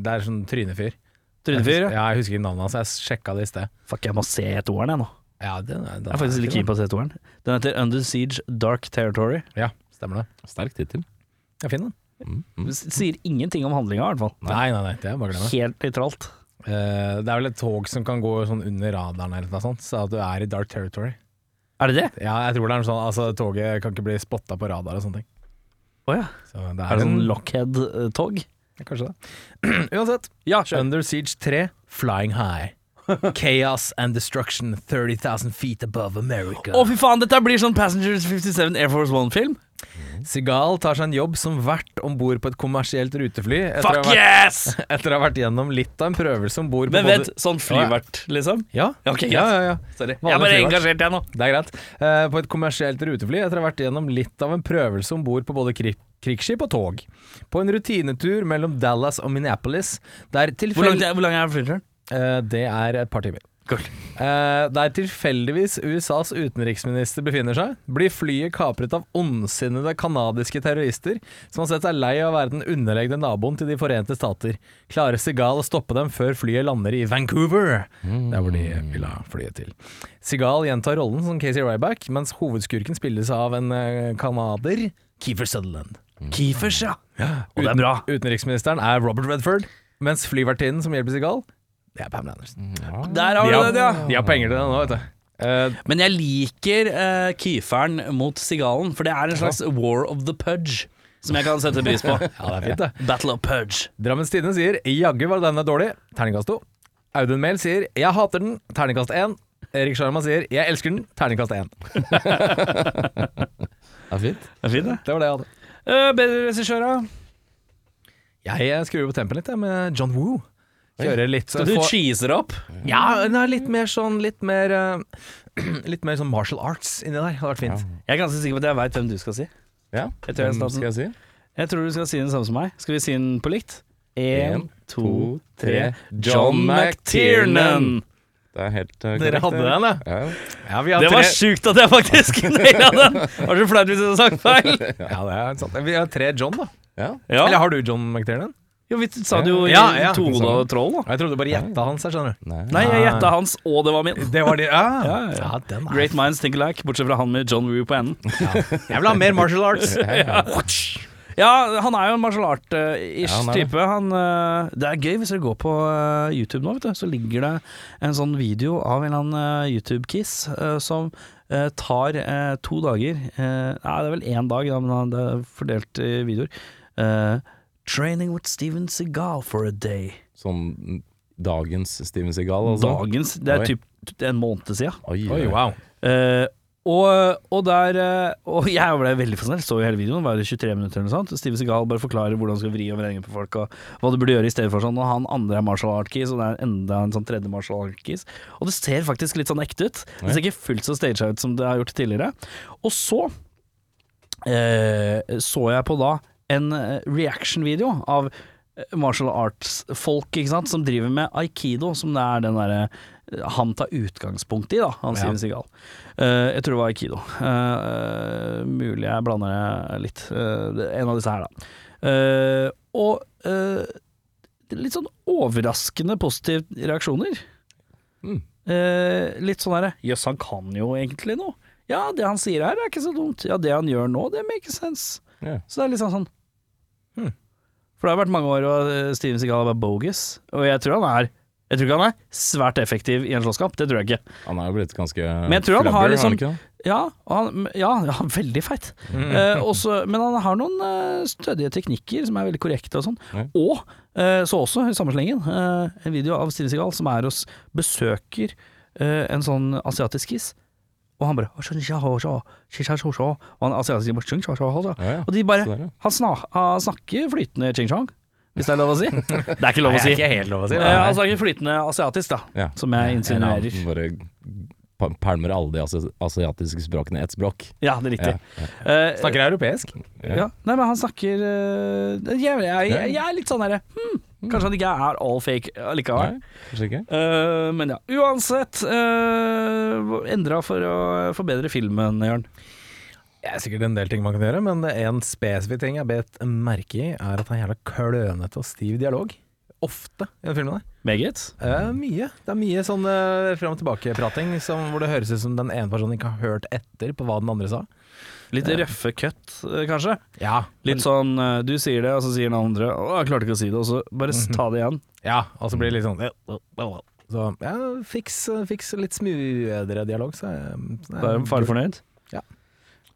[SPEAKER 3] Det er en sånn trynefyr.
[SPEAKER 1] Trynefyr, ja.
[SPEAKER 3] Ja, jeg husker ikke navnet hans. Jeg sjekka det i sted.
[SPEAKER 1] Fuck, jeg må se toeren jeg nå.
[SPEAKER 3] Ja, den er,
[SPEAKER 1] Jeg er faktisk litt keen på å se toeren. Den heter Under Siege Dark Territory.
[SPEAKER 3] Ja, stemmer det.
[SPEAKER 2] Sterk tittel.
[SPEAKER 3] Jeg finner den.
[SPEAKER 2] Mm,
[SPEAKER 1] Det
[SPEAKER 2] mm.
[SPEAKER 1] Sier ingenting om handlinga, i hvert fall.
[SPEAKER 3] Nei, nei, nei, det er bare å glemme.
[SPEAKER 1] Helt nøytralt.
[SPEAKER 3] Eh, det er vel et tog som kan gå sånn under radaren eller noe sånt, så at du er i dark territory.
[SPEAKER 1] Er det det?
[SPEAKER 3] Ja, jeg tror det er noe sånn Altså, toget kan ikke bli spotta på radar og sånne ting.
[SPEAKER 1] Å ja.
[SPEAKER 3] Så det
[SPEAKER 1] Er
[SPEAKER 3] er,
[SPEAKER 1] det
[SPEAKER 3] en
[SPEAKER 1] sånn Lockhead-tog?
[SPEAKER 3] Kanskje det. Uansett. Under Siege 3, Flying High. Chaos and destruction 30,000 feet above America.
[SPEAKER 1] Å, fy faen, dette blir sånn Passengers 57 Air Force One-film.
[SPEAKER 3] Sigal tar seg en jobb som vert om bord på et kommersielt rutefly etter, å
[SPEAKER 1] Fuck
[SPEAKER 3] ha vært,
[SPEAKER 1] yes!
[SPEAKER 3] etter å ha vært gjennom litt av en prøvelse om bord på
[SPEAKER 1] Men
[SPEAKER 3] både
[SPEAKER 1] vent, sånn flyvert, liksom?
[SPEAKER 3] Ja,
[SPEAKER 1] Ja, ok,
[SPEAKER 3] ja,
[SPEAKER 1] greit.
[SPEAKER 3] ja, ja.
[SPEAKER 1] Sorry. Jeg
[SPEAKER 3] Vanlig
[SPEAKER 1] er bare
[SPEAKER 3] flyvert.
[SPEAKER 1] engasjert, jeg nå.
[SPEAKER 3] Det er greit. Eh, på et kommersielt rutefly etter å ha vært gjennom litt av en prøvelse om bord på både kri krigsskip og tog. På en rutinetur mellom Dallas og Minneapolis, der
[SPEAKER 1] Hvor lang
[SPEAKER 3] tilfeldigvis
[SPEAKER 1] er, hvor langt er flyturen?
[SPEAKER 3] Det er et par timer.
[SPEAKER 1] Kult.
[SPEAKER 3] Eh, der tilfeldigvis USAs utenriksminister befinner seg, blir flyet kapret av ondsinnede canadiske terrorister som har sett seg lei av å være den underlegne naboen til De forente stater. Klarer Sigal å stoppe dem før flyet lander i Vancouver,
[SPEAKER 1] Mm.
[SPEAKER 3] der hvor de vil ha flyet til. Sigal gjentar rollen som Casey Ryback, mens hovedskurken spilles av en eh, canader, Keefer Sutherland.
[SPEAKER 1] Keefers, ja. Og det er bra.
[SPEAKER 3] Utenriksministeren er Robert Redford, mens flyvertinnen som hjelper Sigal, det er Pamela Andersen.
[SPEAKER 1] Der har
[SPEAKER 3] De
[SPEAKER 1] du
[SPEAKER 3] har,
[SPEAKER 1] den, ja.
[SPEAKER 3] de har penger til det nå, vet du. Eh,
[SPEAKER 1] Men jeg liker uh, Kyferen mot Sigalen, for det er en slags War of the Pudge. Som jeg kan sette pris på.
[SPEAKER 3] ja, det er fint, det.
[SPEAKER 1] Battle of Pudge.
[SPEAKER 3] Drammens Tidende sier 'jaggu var denne dårlig'. Terningkast 2. Audun Mehl sier 'jeg hater den'. Terningkast 1. Erik Sjarma sier 'jeg elsker den'. Terningkast 1.
[SPEAKER 2] Det er fint.
[SPEAKER 1] Det er fint, det.
[SPEAKER 3] Det var det jeg hadde.
[SPEAKER 1] Eh, bedre regissør, da?
[SPEAKER 3] Jeg eh, skrur på tempen litt jeg, med John Woo. Kjører litt så
[SPEAKER 1] Du
[SPEAKER 3] får-
[SPEAKER 1] cheeser opp.
[SPEAKER 3] Ja, nei, litt mer sånn Litt mer eh, Litt mer sånn martial arts inni der. Det hadde vært fint.
[SPEAKER 1] Jeg er ganske sikker på at jeg veit hvem du skal si.
[SPEAKER 2] Ja,
[SPEAKER 1] Jeg tror jeg
[SPEAKER 2] hvem
[SPEAKER 1] starter-
[SPEAKER 2] skal jeg si?
[SPEAKER 1] Jeg tror du skal si den samme som meg. Skal vi si den på likt? Én,
[SPEAKER 2] En,
[SPEAKER 1] to, tre.
[SPEAKER 2] John McTiernan! Det er helt eh,
[SPEAKER 3] Dere
[SPEAKER 2] korrekt,
[SPEAKER 3] hadde
[SPEAKER 2] det.
[SPEAKER 3] den, ja?
[SPEAKER 2] Ja, ja.
[SPEAKER 3] Ja, vi har
[SPEAKER 1] Det var
[SPEAKER 3] tre,
[SPEAKER 1] sjukt at jeg faktisk naila den! Var så flaut hvis jeg hadde sagt feil.
[SPEAKER 3] ja, det er sant. Vi har tre John, da.
[SPEAKER 2] ja.
[SPEAKER 3] Eller
[SPEAKER 1] Ja.
[SPEAKER 3] har du John McTiernan?
[SPEAKER 1] Jo, vi sa det jo i
[SPEAKER 3] Ja, ja.
[SPEAKER 1] Tone og Troll, da.
[SPEAKER 3] Jeg trodde du bare gjetta hans her, skjønner du.
[SPEAKER 2] Nei.
[SPEAKER 1] Nei, jeg gjetta hans, og det var min.
[SPEAKER 3] Det var de Ja,
[SPEAKER 1] Ja, ja.
[SPEAKER 3] ja den er
[SPEAKER 1] Great minds think alike, bortsett fra han med John Woo på enden.
[SPEAKER 3] Jeg vil ha mer martial arts.
[SPEAKER 1] Ja, han er jo en martial art-ish
[SPEAKER 2] Ja, han er det.
[SPEAKER 1] type. Han, eh, det er gøy hvis dere går på eh, YouTube nå, vet du. Så ligger det en sånn video av en eller annen eh, YouTube-kiss eh, som eh, tar eh, to dager eh, Nei, det er vel én dag, da, men han- det er fordelt i videoer. Eh, Training with Steven Seagal for a day.
[SPEAKER 2] Sånn dagens Steven Seagal, altså.
[SPEAKER 1] Dagens. Det er
[SPEAKER 2] Oi.
[SPEAKER 1] typ en måned siden.
[SPEAKER 2] Oi,
[SPEAKER 3] Oi, wow.
[SPEAKER 1] Eh, og, og der eh, Og jeg ble veldig fascinert, så jo hele videoen, var det 23 minutter eller noe sånt. Steven Seagal bare forklarer hvordan du skal vri og vrenge på folk, og hva du burde gjøre i stedet for sånn. Og han andre er martial art-kis, og det er enda en sånn tredje martial art-kis. Og det ser faktisk litt sånn ekte ut. Det ser ikke fullt så staged ut som det har gjort tidligere. Og så eh, så jeg på da en eh, reaction-video av eh, martial arts-folk ikke sant, som driver med aikido, som det er den derre eh, han tar utgangspunkt i, da, han Steven Seagal. Eh, jeg tror det var aikido. Eh, mulig jeg blander det litt. Eh, det- en av disse her, da. Eh, og eh, litt sånn overraskende positive reaksjoner.
[SPEAKER 2] Mm.
[SPEAKER 1] Eh, litt sånn herre Jøss, han kan jo egentlig noe. Ja, det han sier her er ikke så dumt. Ja, det han gjør nå, det makes sense.
[SPEAKER 2] Ja.
[SPEAKER 1] Så det er litt sånn sånn
[SPEAKER 3] Hmm.
[SPEAKER 1] For det har vært mange år og eh, Steven Seagal er bare bogus. Og jeg tror han er Jeg tror ikke han er svært effektiv i en slåsskamp, det tror jeg ikke.
[SPEAKER 2] Han er jo blitt ganske
[SPEAKER 1] Men jeg tror han har
[SPEAKER 2] flabber, er
[SPEAKER 1] liksom-
[SPEAKER 2] ikke det?
[SPEAKER 1] Ja, og han, ja, ja veldig feit.
[SPEAKER 2] Mm.
[SPEAKER 1] Eh, også, men han har noen eh, stødige teknikker som er veldig korrekte og sånn.
[SPEAKER 2] Ja.
[SPEAKER 1] Og eh, så også, i samme slengen, eh, en video av Steven Seagal som er hos besøker eh, en sånn asiatisk kiss. Og han bare Og han asiatiske bare
[SPEAKER 2] Ja, ja.
[SPEAKER 1] Og de bare
[SPEAKER 2] Så der, ja.
[SPEAKER 1] han, sna- han snakker flytende ching-chong, hvis det er lov å si. Det er ikke lov å si.
[SPEAKER 3] ikke helt lov å si.
[SPEAKER 1] Eh, Han snakker flytende asiatisk, da,
[SPEAKER 2] Ja.
[SPEAKER 1] som jeg insinuerer.
[SPEAKER 2] Eller han Bare pa- pælmer alle de asi- asiatiske språkene i ett språk.
[SPEAKER 1] Ja, det er riktig.
[SPEAKER 2] Ja,
[SPEAKER 1] Eh,
[SPEAKER 3] Snakker europeisk.
[SPEAKER 2] Ja.
[SPEAKER 1] Ja. Nei, men han snakker eh, jeg, jeg, jeg, jeg er litt sånn herre hmm, Kanskje han ikke er all fake allikevel.
[SPEAKER 2] Nei, kanskje ikke?
[SPEAKER 1] Eh, men ja, uansett uh, Endra for å forbedre filmen, Jørn.
[SPEAKER 3] Det er sikkert en del ting man kan gjøre, men det er en spesifikk ting jeg bet merke i, er at han er jævla klønete og stiv dialog. Ofte i den filmen der.
[SPEAKER 1] Meget.
[SPEAKER 3] Eh, mye. Det er mye sånn eh, fram og tilbake-prating som- hvor det høres ut som den ene personen ikke har hørt etter på hva den andre sa.
[SPEAKER 1] Litt røffe cut, eh, kanskje.
[SPEAKER 3] Ja,
[SPEAKER 1] Litt sånn eh, du sier det, og så sier den andre Å, jeg klarte ikke å si det, og så bare
[SPEAKER 2] Mhm.
[SPEAKER 1] s- ta det igjen.
[SPEAKER 3] ja og så blir det litt sånn Så ja, fiks, fiks litt smoothere dialog, så er
[SPEAKER 1] Da er far fornøyd.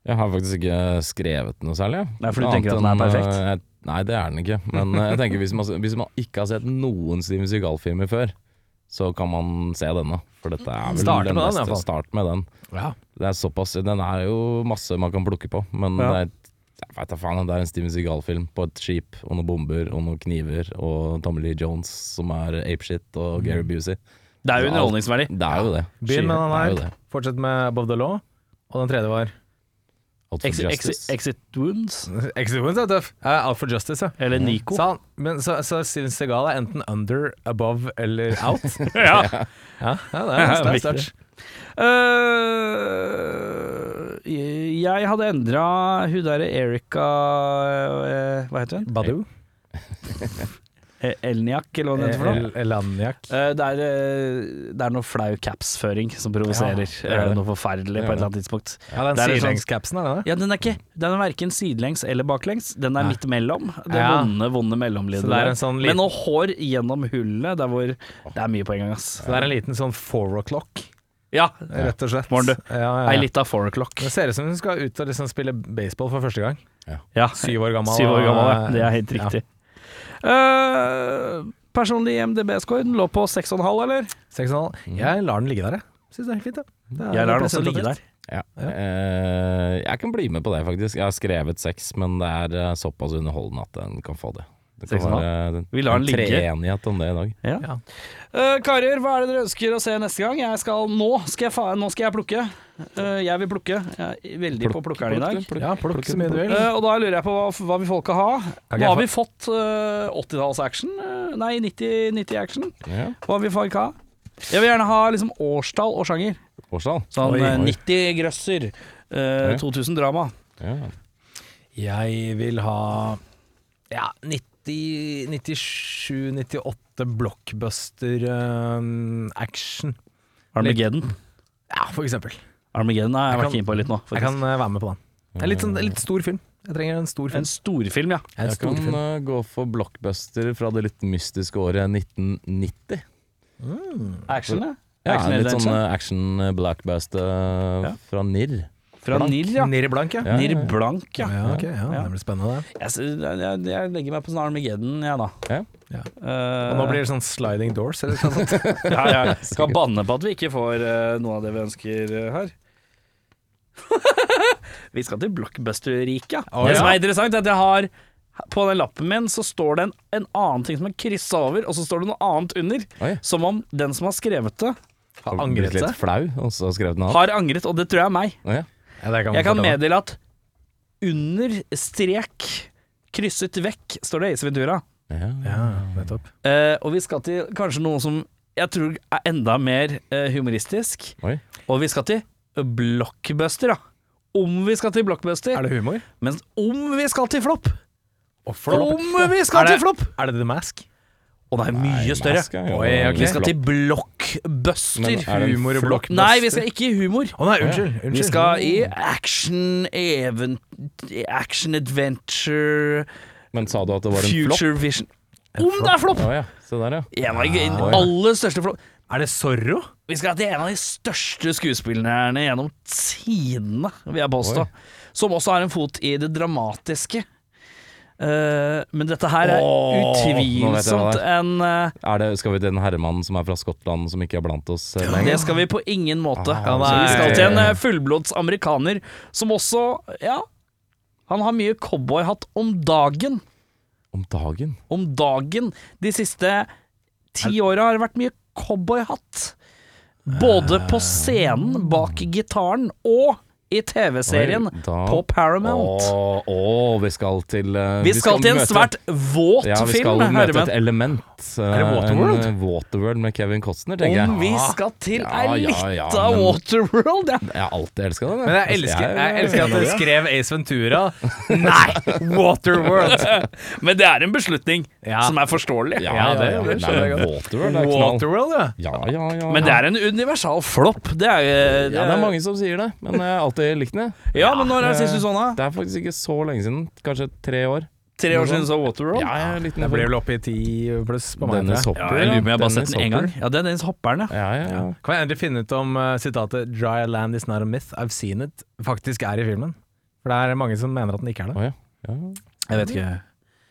[SPEAKER 2] Jeg har faktisk ikke skrevet noe særlig. jeg.
[SPEAKER 1] Nei, for du
[SPEAKER 2] Annet
[SPEAKER 1] tenker at den er
[SPEAKER 2] enn,
[SPEAKER 1] perfekt?
[SPEAKER 2] eh, jeg- Nei, det er den ikke. Men eh, jeg tenker hvis man, hvis man ikke har sett noen Steven Seagal-filmer før, så kan man se denne. For dette er vel
[SPEAKER 3] Starte
[SPEAKER 2] den
[SPEAKER 3] med den, i
[SPEAKER 2] beste.
[SPEAKER 3] hvert fall.
[SPEAKER 2] Start med den.
[SPEAKER 3] Ja.
[SPEAKER 2] Det er såpass, den er jo masse man kan plukke på, men
[SPEAKER 1] Ja.
[SPEAKER 2] det er jeg vet da faen, det er en Steven Seagal-film på et skip og noen bomber og noen kniver og Tommy Lee Jones som er apeshit
[SPEAKER 1] Mm.
[SPEAKER 2] og Gary Busey.
[SPEAKER 1] Det er jo underholdningsverdi.
[SPEAKER 2] Det er jo det.
[SPEAKER 3] Begynn med den
[SPEAKER 2] Det er
[SPEAKER 3] her,
[SPEAKER 2] jo det.
[SPEAKER 3] fortsett med Above the Law, og den tredje var
[SPEAKER 2] Out for
[SPEAKER 1] Exit, exit,
[SPEAKER 2] Justice.
[SPEAKER 1] exit wounds.
[SPEAKER 3] Exit Wounds er tøff. Eh, Out for Justice, ja.
[SPEAKER 1] Eller Nico.
[SPEAKER 3] Så, han, men, så, så Steven Seagal er enten under, above eller out?
[SPEAKER 1] Ja.
[SPEAKER 3] ja, ja, det er en sterk
[SPEAKER 1] Viktig.
[SPEAKER 3] start.
[SPEAKER 1] Eh, jeg hadde endra hun derre Erika eh, Hva heter hun?
[SPEAKER 3] Badoo.
[SPEAKER 1] Eh,
[SPEAKER 3] E-
[SPEAKER 1] Elniak, eller hva hun heter for noe?
[SPEAKER 3] El- Elaniak.
[SPEAKER 1] Eh, det, er, eh, det er noe flau capsføring som provoserer.
[SPEAKER 3] Ja, det er
[SPEAKER 1] eh,
[SPEAKER 3] det.
[SPEAKER 1] noe forferdelig på et eller annet tidspunkt.
[SPEAKER 3] Ja,
[SPEAKER 1] Det
[SPEAKER 3] den
[SPEAKER 1] er en sånn-
[SPEAKER 3] sidelengscapsen, er det det?
[SPEAKER 1] Ja, Den er ikke Den er verken sidelengs eller baklengs. Den er
[SPEAKER 3] Nei.
[SPEAKER 1] midt mellom. Det
[SPEAKER 3] Ja.
[SPEAKER 1] vonde, vonde
[SPEAKER 3] Så det er en
[SPEAKER 1] mellomlidet.
[SPEAKER 3] sånn
[SPEAKER 1] Sånn
[SPEAKER 3] liten-
[SPEAKER 1] Men noe hår gjennom hullet, der hvor Det er mye på en gang, ass.
[SPEAKER 3] Så det er en liten sånn four o'clock,
[SPEAKER 1] Ja.
[SPEAKER 3] rett og slett.
[SPEAKER 1] Morn, du.
[SPEAKER 3] Ja, ja,
[SPEAKER 1] Ei
[SPEAKER 3] ja.
[SPEAKER 1] lita four o'clock.
[SPEAKER 3] Det ser ut som hun skal ut og liksom spille baseball for første gang.
[SPEAKER 1] Ja.
[SPEAKER 3] Syv år gammel.
[SPEAKER 1] Syv år gammel, ja.
[SPEAKER 3] og-
[SPEAKER 1] Det er helt
[SPEAKER 3] ja.
[SPEAKER 1] riktig. Eh, personlig MDB-score, den lå på 6,5, eller?
[SPEAKER 3] Seks og en halv. Jeg lar den ligge der, jeg. Syns det er helt fint, jeg. Det er
[SPEAKER 1] Mm. Jeg lar den også ligge der.
[SPEAKER 3] representativt.
[SPEAKER 2] Ja. Eh, jeg kan bli med på det, faktisk. Jeg har skrevet seks, men det er eh, såpass underholdende at den kan få det. Det kan
[SPEAKER 1] Seks og en
[SPEAKER 2] være en-
[SPEAKER 1] Vi lar den
[SPEAKER 2] en
[SPEAKER 1] ligge.
[SPEAKER 2] treenighet om det i dag.
[SPEAKER 1] Ja.
[SPEAKER 3] Ja.
[SPEAKER 1] Eh, karer, hva er det dere ønsker å se neste gang? Jeg skal, nå, skal jeg faen, nå skal jeg plukke. Eh, jeg vil plukke. Jeg er veldig på plukkeren i dag.
[SPEAKER 3] Ja, plukk så mye du vil.
[SPEAKER 1] Eh, og da lurer jeg på hva, hva vil folket ha?
[SPEAKER 3] Ok,
[SPEAKER 1] Nå har
[SPEAKER 3] for-
[SPEAKER 1] vi fått eh, 80-talls-action. eh, nei, 90-action.
[SPEAKER 2] Ja.
[SPEAKER 1] Hva vil folk ha? Jeg vil gjerne ha liksom årstall og sjanger.
[SPEAKER 2] Årsdal.
[SPEAKER 1] Sånn
[SPEAKER 2] Oi.
[SPEAKER 1] eh, 90 grøsser, eh,
[SPEAKER 2] Ja.
[SPEAKER 1] 2000 drama.
[SPEAKER 2] Ja.
[SPEAKER 3] Jeg vil ha ja, 97-98 blockbuster eh, action.
[SPEAKER 1] Armageddon.
[SPEAKER 3] Ja, for eksempel.
[SPEAKER 1] Armageddon har jeg
[SPEAKER 3] Jeg
[SPEAKER 1] vært
[SPEAKER 3] kan-
[SPEAKER 1] keen på litt nå.
[SPEAKER 3] Jeg
[SPEAKER 1] Faktisk.
[SPEAKER 3] kan eh, være med på den. Det er litt, sånn, litt stor film. Jeg trenger en stor
[SPEAKER 1] En
[SPEAKER 3] film.
[SPEAKER 1] storfilm, ja.
[SPEAKER 3] En
[SPEAKER 2] Jeg
[SPEAKER 3] stor
[SPEAKER 2] kan
[SPEAKER 3] film.
[SPEAKER 2] eh, gå for blockbuster fra det litt mystiske året 1990.
[SPEAKER 1] Action, ja.
[SPEAKER 2] Ja,
[SPEAKER 1] Action
[SPEAKER 2] litt
[SPEAKER 1] Adventure.
[SPEAKER 2] sånn eh, action eh, blockbuster eh, fra NIR.
[SPEAKER 1] eh, Fra NIR, ja.
[SPEAKER 3] Nir blank, ja.
[SPEAKER 2] Ja,
[SPEAKER 1] NIR
[SPEAKER 2] ja, ja.
[SPEAKER 1] Blank, ja.
[SPEAKER 3] Ja, ok, ja, Det blir spennende, det.
[SPEAKER 1] Jeg, s- jeg, jeg legger meg på sånn Armageddon, jeg, da.
[SPEAKER 2] Ja.
[SPEAKER 3] Ja.
[SPEAKER 1] Eh,
[SPEAKER 3] Og nå blir det sånn sliding doors, eller noe sånt.
[SPEAKER 1] ja, ja. Skal banne på at vi ikke får eh, noe av det vi ønsker eh, her. vi skal til blockbuster-riket. ja.
[SPEAKER 3] ja.
[SPEAKER 1] Det som er interessant, er at jeg har på den lappen min så står det en, en annen ting som er kryssa over, og så står det noe annet under.
[SPEAKER 2] Oi.
[SPEAKER 1] Som om den som har skrevet det,
[SPEAKER 3] Har
[SPEAKER 2] Og blitt
[SPEAKER 3] angret
[SPEAKER 2] Litt
[SPEAKER 3] seg.
[SPEAKER 2] flau, og så skrevet den av.
[SPEAKER 1] har angret, og det tror jeg er meg.
[SPEAKER 2] Ja.
[SPEAKER 3] Ja, det man
[SPEAKER 1] Jeg kan
[SPEAKER 3] fortelle.
[SPEAKER 1] meddele at under strek krysset vekk står det Ace Ventura.
[SPEAKER 2] Ja.
[SPEAKER 3] Ja, nettopp.
[SPEAKER 1] Eh, og vi skal til kanskje noe som jeg tror er enda mer eh, humoristisk.
[SPEAKER 2] Oi.
[SPEAKER 1] Og vi skal til blockbuster, da. Om vi skal til blockbuster.
[SPEAKER 3] Er det humor?
[SPEAKER 1] Men om vi skal til flopp!
[SPEAKER 3] Og
[SPEAKER 1] Om vi skal
[SPEAKER 3] Er det-
[SPEAKER 1] til flopp!
[SPEAKER 3] Er det The Mask?
[SPEAKER 1] Og det er mye større.
[SPEAKER 2] Mask, ja.
[SPEAKER 3] Oi, ok.
[SPEAKER 1] Vi skal til
[SPEAKER 2] Men
[SPEAKER 1] blockbuster.
[SPEAKER 2] er det en
[SPEAKER 3] humor og
[SPEAKER 2] flott-
[SPEAKER 3] blockbuster?
[SPEAKER 1] Nei, vi skal ikke i humor.
[SPEAKER 3] Å nei, unnskyld.
[SPEAKER 1] Vi
[SPEAKER 3] unnskyld.
[SPEAKER 1] skal i action, even, action adventure
[SPEAKER 2] Men sa du at det var en flopp?
[SPEAKER 1] Future Vision. Om det er flopp!
[SPEAKER 2] Å ja, se der, Ah, ja.
[SPEAKER 1] En av de
[SPEAKER 2] Oi.
[SPEAKER 1] aller største flopp.
[SPEAKER 3] Er det Zorro?
[SPEAKER 1] Vi skal til en av de største skuespillerne gjennom tidene, vil jeg påstå.
[SPEAKER 2] Oi.
[SPEAKER 1] Som også har en fot i det dramatiske. Eh, men dette her er
[SPEAKER 2] Åh, nå vet jeg hva
[SPEAKER 1] utvilsomt
[SPEAKER 2] det
[SPEAKER 1] en eh,
[SPEAKER 2] Er det, skal vi til den herremannen som er fra Skottland, som ikke er blant oss eh,
[SPEAKER 1] Det
[SPEAKER 2] lenger?
[SPEAKER 1] skal vi på ingen måte.
[SPEAKER 2] Ah,
[SPEAKER 1] Så vi skal
[SPEAKER 2] nei.
[SPEAKER 1] til en eh, fullblods amerikaner som også, ja Han har mye cowboyhatt om dagen.
[SPEAKER 2] Om dagen?
[SPEAKER 1] Om dagen. De siste ti åra har det vært mye cowboyhatt. Både på scenen, bak gitaren, og i TV-serien
[SPEAKER 2] Oi, da-
[SPEAKER 1] på Paramount.
[SPEAKER 2] Å, å, vi skal til eh,
[SPEAKER 1] Vi skal til en
[SPEAKER 2] møte-
[SPEAKER 1] svært våt
[SPEAKER 2] ja, vi skal
[SPEAKER 1] film,
[SPEAKER 2] møte
[SPEAKER 1] herremenn.
[SPEAKER 2] et element. Er
[SPEAKER 3] det Waterworld?
[SPEAKER 2] Waterworld med Kevin Costner, tenker jeg.
[SPEAKER 1] Om vi skal til
[SPEAKER 2] Ja,
[SPEAKER 1] ei
[SPEAKER 2] ja,
[SPEAKER 1] lita
[SPEAKER 2] ja, men-
[SPEAKER 1] Waterworld, ja.
[SPEAKER 2] Jeg har alltid elska den.
[SPEAKER 3] Men jeg elsker,
[SPEAKER 2] Altså,
[SPEAKER 3] jeg elsker at
[SPEAKER 2] jeg-
[SPEAKER 3] du skrev Ace Ventura. Nei! Waterworld.
[SPEAKER 1] Men det er en beslutning
[SPEAKER 3] Ja.
[SPEAKER 1] som er forståelig.
[SPEAKER 2] Ja,
[SPEAKER 3] Ja,
[SPEAKER 2] det,
[SPEAKER 3] ja, det
[SPEAKER 2] nei, men Waterworld er knall.
[SPEAKER 3] Waterworld, ja.
[SPEAKER 2] Ja, ja, ja.
[SPEAKER 1] Men det er en universal flopp. Det er, eh, det
[SPEAKER 2] ja, det er mange som sier det, men jeg har alltid likt den. jeg.
[SPEAKER 1] Ja, men når er sist du så den? da?
[SPEAKER 2] Det er faktisk ikke så lenge siden. Kanskje tre år.
[SPEAKER 1] Tre år siden du så Waterworld?
[SPEAKER 2] Ja, jeg er litt
[SPEAKER 3] Det ble vel oppe i ti pluss på meg.
[SPEAKER 2] Dennis
[SPEAKER 3] tror jeg.
[SPEAKER 2] Hopper.
[SPEAKER 1] jeg lurer på om jeg bare har sett
[SPEAKER 2] Dennis
[SPEAKER 1] den én
[SPEAKER 2] Hopper.
[SPEAKER 1] gang. Ja, det er den hopperen, ja.
[SPEAKER 2] Ja, ja, ja.
[SPEAKER 3] Kan jeg endelig finne ut om eh, sitatet 'Dry land is not a myth, I've seen it' faktisk er i filmen? For det er mange som mener at den ikke er det.
[SPEAKER 2] Å, ja. ja.
[SPEAKER 1] Jeg vet ikke.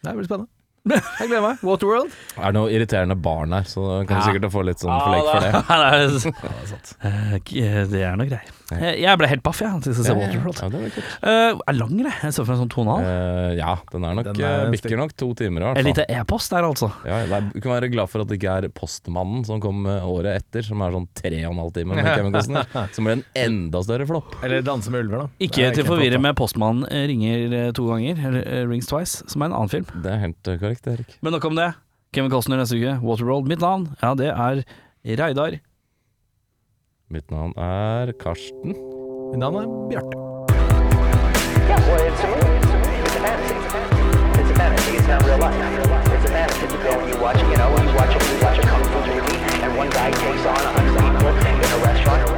[SPEAKER 3] Det blir spennende. Jeg gleder meg. Waterworld.
[SPEAKER 2] Er det noe irriterende barn her, så kan du
[SPEAKER 3] Ja.
[SPEAKER 2] sikkert få litt sånn flekk for det.
[SPEAKER 1] Eh, Det er noe greier. Jeg- Jeg ble helt paff, jeg, til jeg så
[SPEAKER 2] Ja, ja,
[SPEAKER 1] Waterworld.
[SPEAKER 2] ja, det var kult.
[SPEAKER 1] Eh, Er lang, det. Jeg så for meg sånn to og en halv.
[SPEAKER 2] Eh, ja, den er nok
[SPEAKER 3] Den er
[SPEAKER 2] eh,
[SPEAKER 3] en
[SPEAKER 2] bikker nok to timer i
[SPEAKER 1] En
[SPEAKER 2] hvert
[SPEAKER 1] liten
[SPEAKER 2] fall.
[SPEAKER 1] e-post der, altså.
[SPEAKER 2] Ja, ja, det er- du kan være glad for at det ikke er Postmannen som kom eh, året etter, som er sånn tre og en halv time med Kevin Costner. Som blir en enda større flopp.
[SPEAKER 3] Eller 'Danse med ulver', da.
[SPEAKER 1] Ikke til å forvirre
[SPEAKER 3] forvirre
[SPEAKER 1] med Postmannen eh, ringer eh, to ganger, eller eh, rings twice, som er en annen film.
[SPEAKER 2] Det er helt eh, korrekt, Erik.
[SPEAKER 1] Men nok om det. Kevin Costner neste uke, Waterworld. Mitt navn, ja, det er Reidar.
[SPEAKER 2] Mitt navn er Karsten.
[SPEAKER 3] Mitt navn er Bjarte.
[SPEAKER 4] Yeah, well, it's a movie. It's a movie. It's a fantasy. It's a fantasy. It's not real life. It's a fantasy. You go and you watch, you know, you watch a, you watch a kung fu movie, and one guy takes on a hundred people in a restaurant.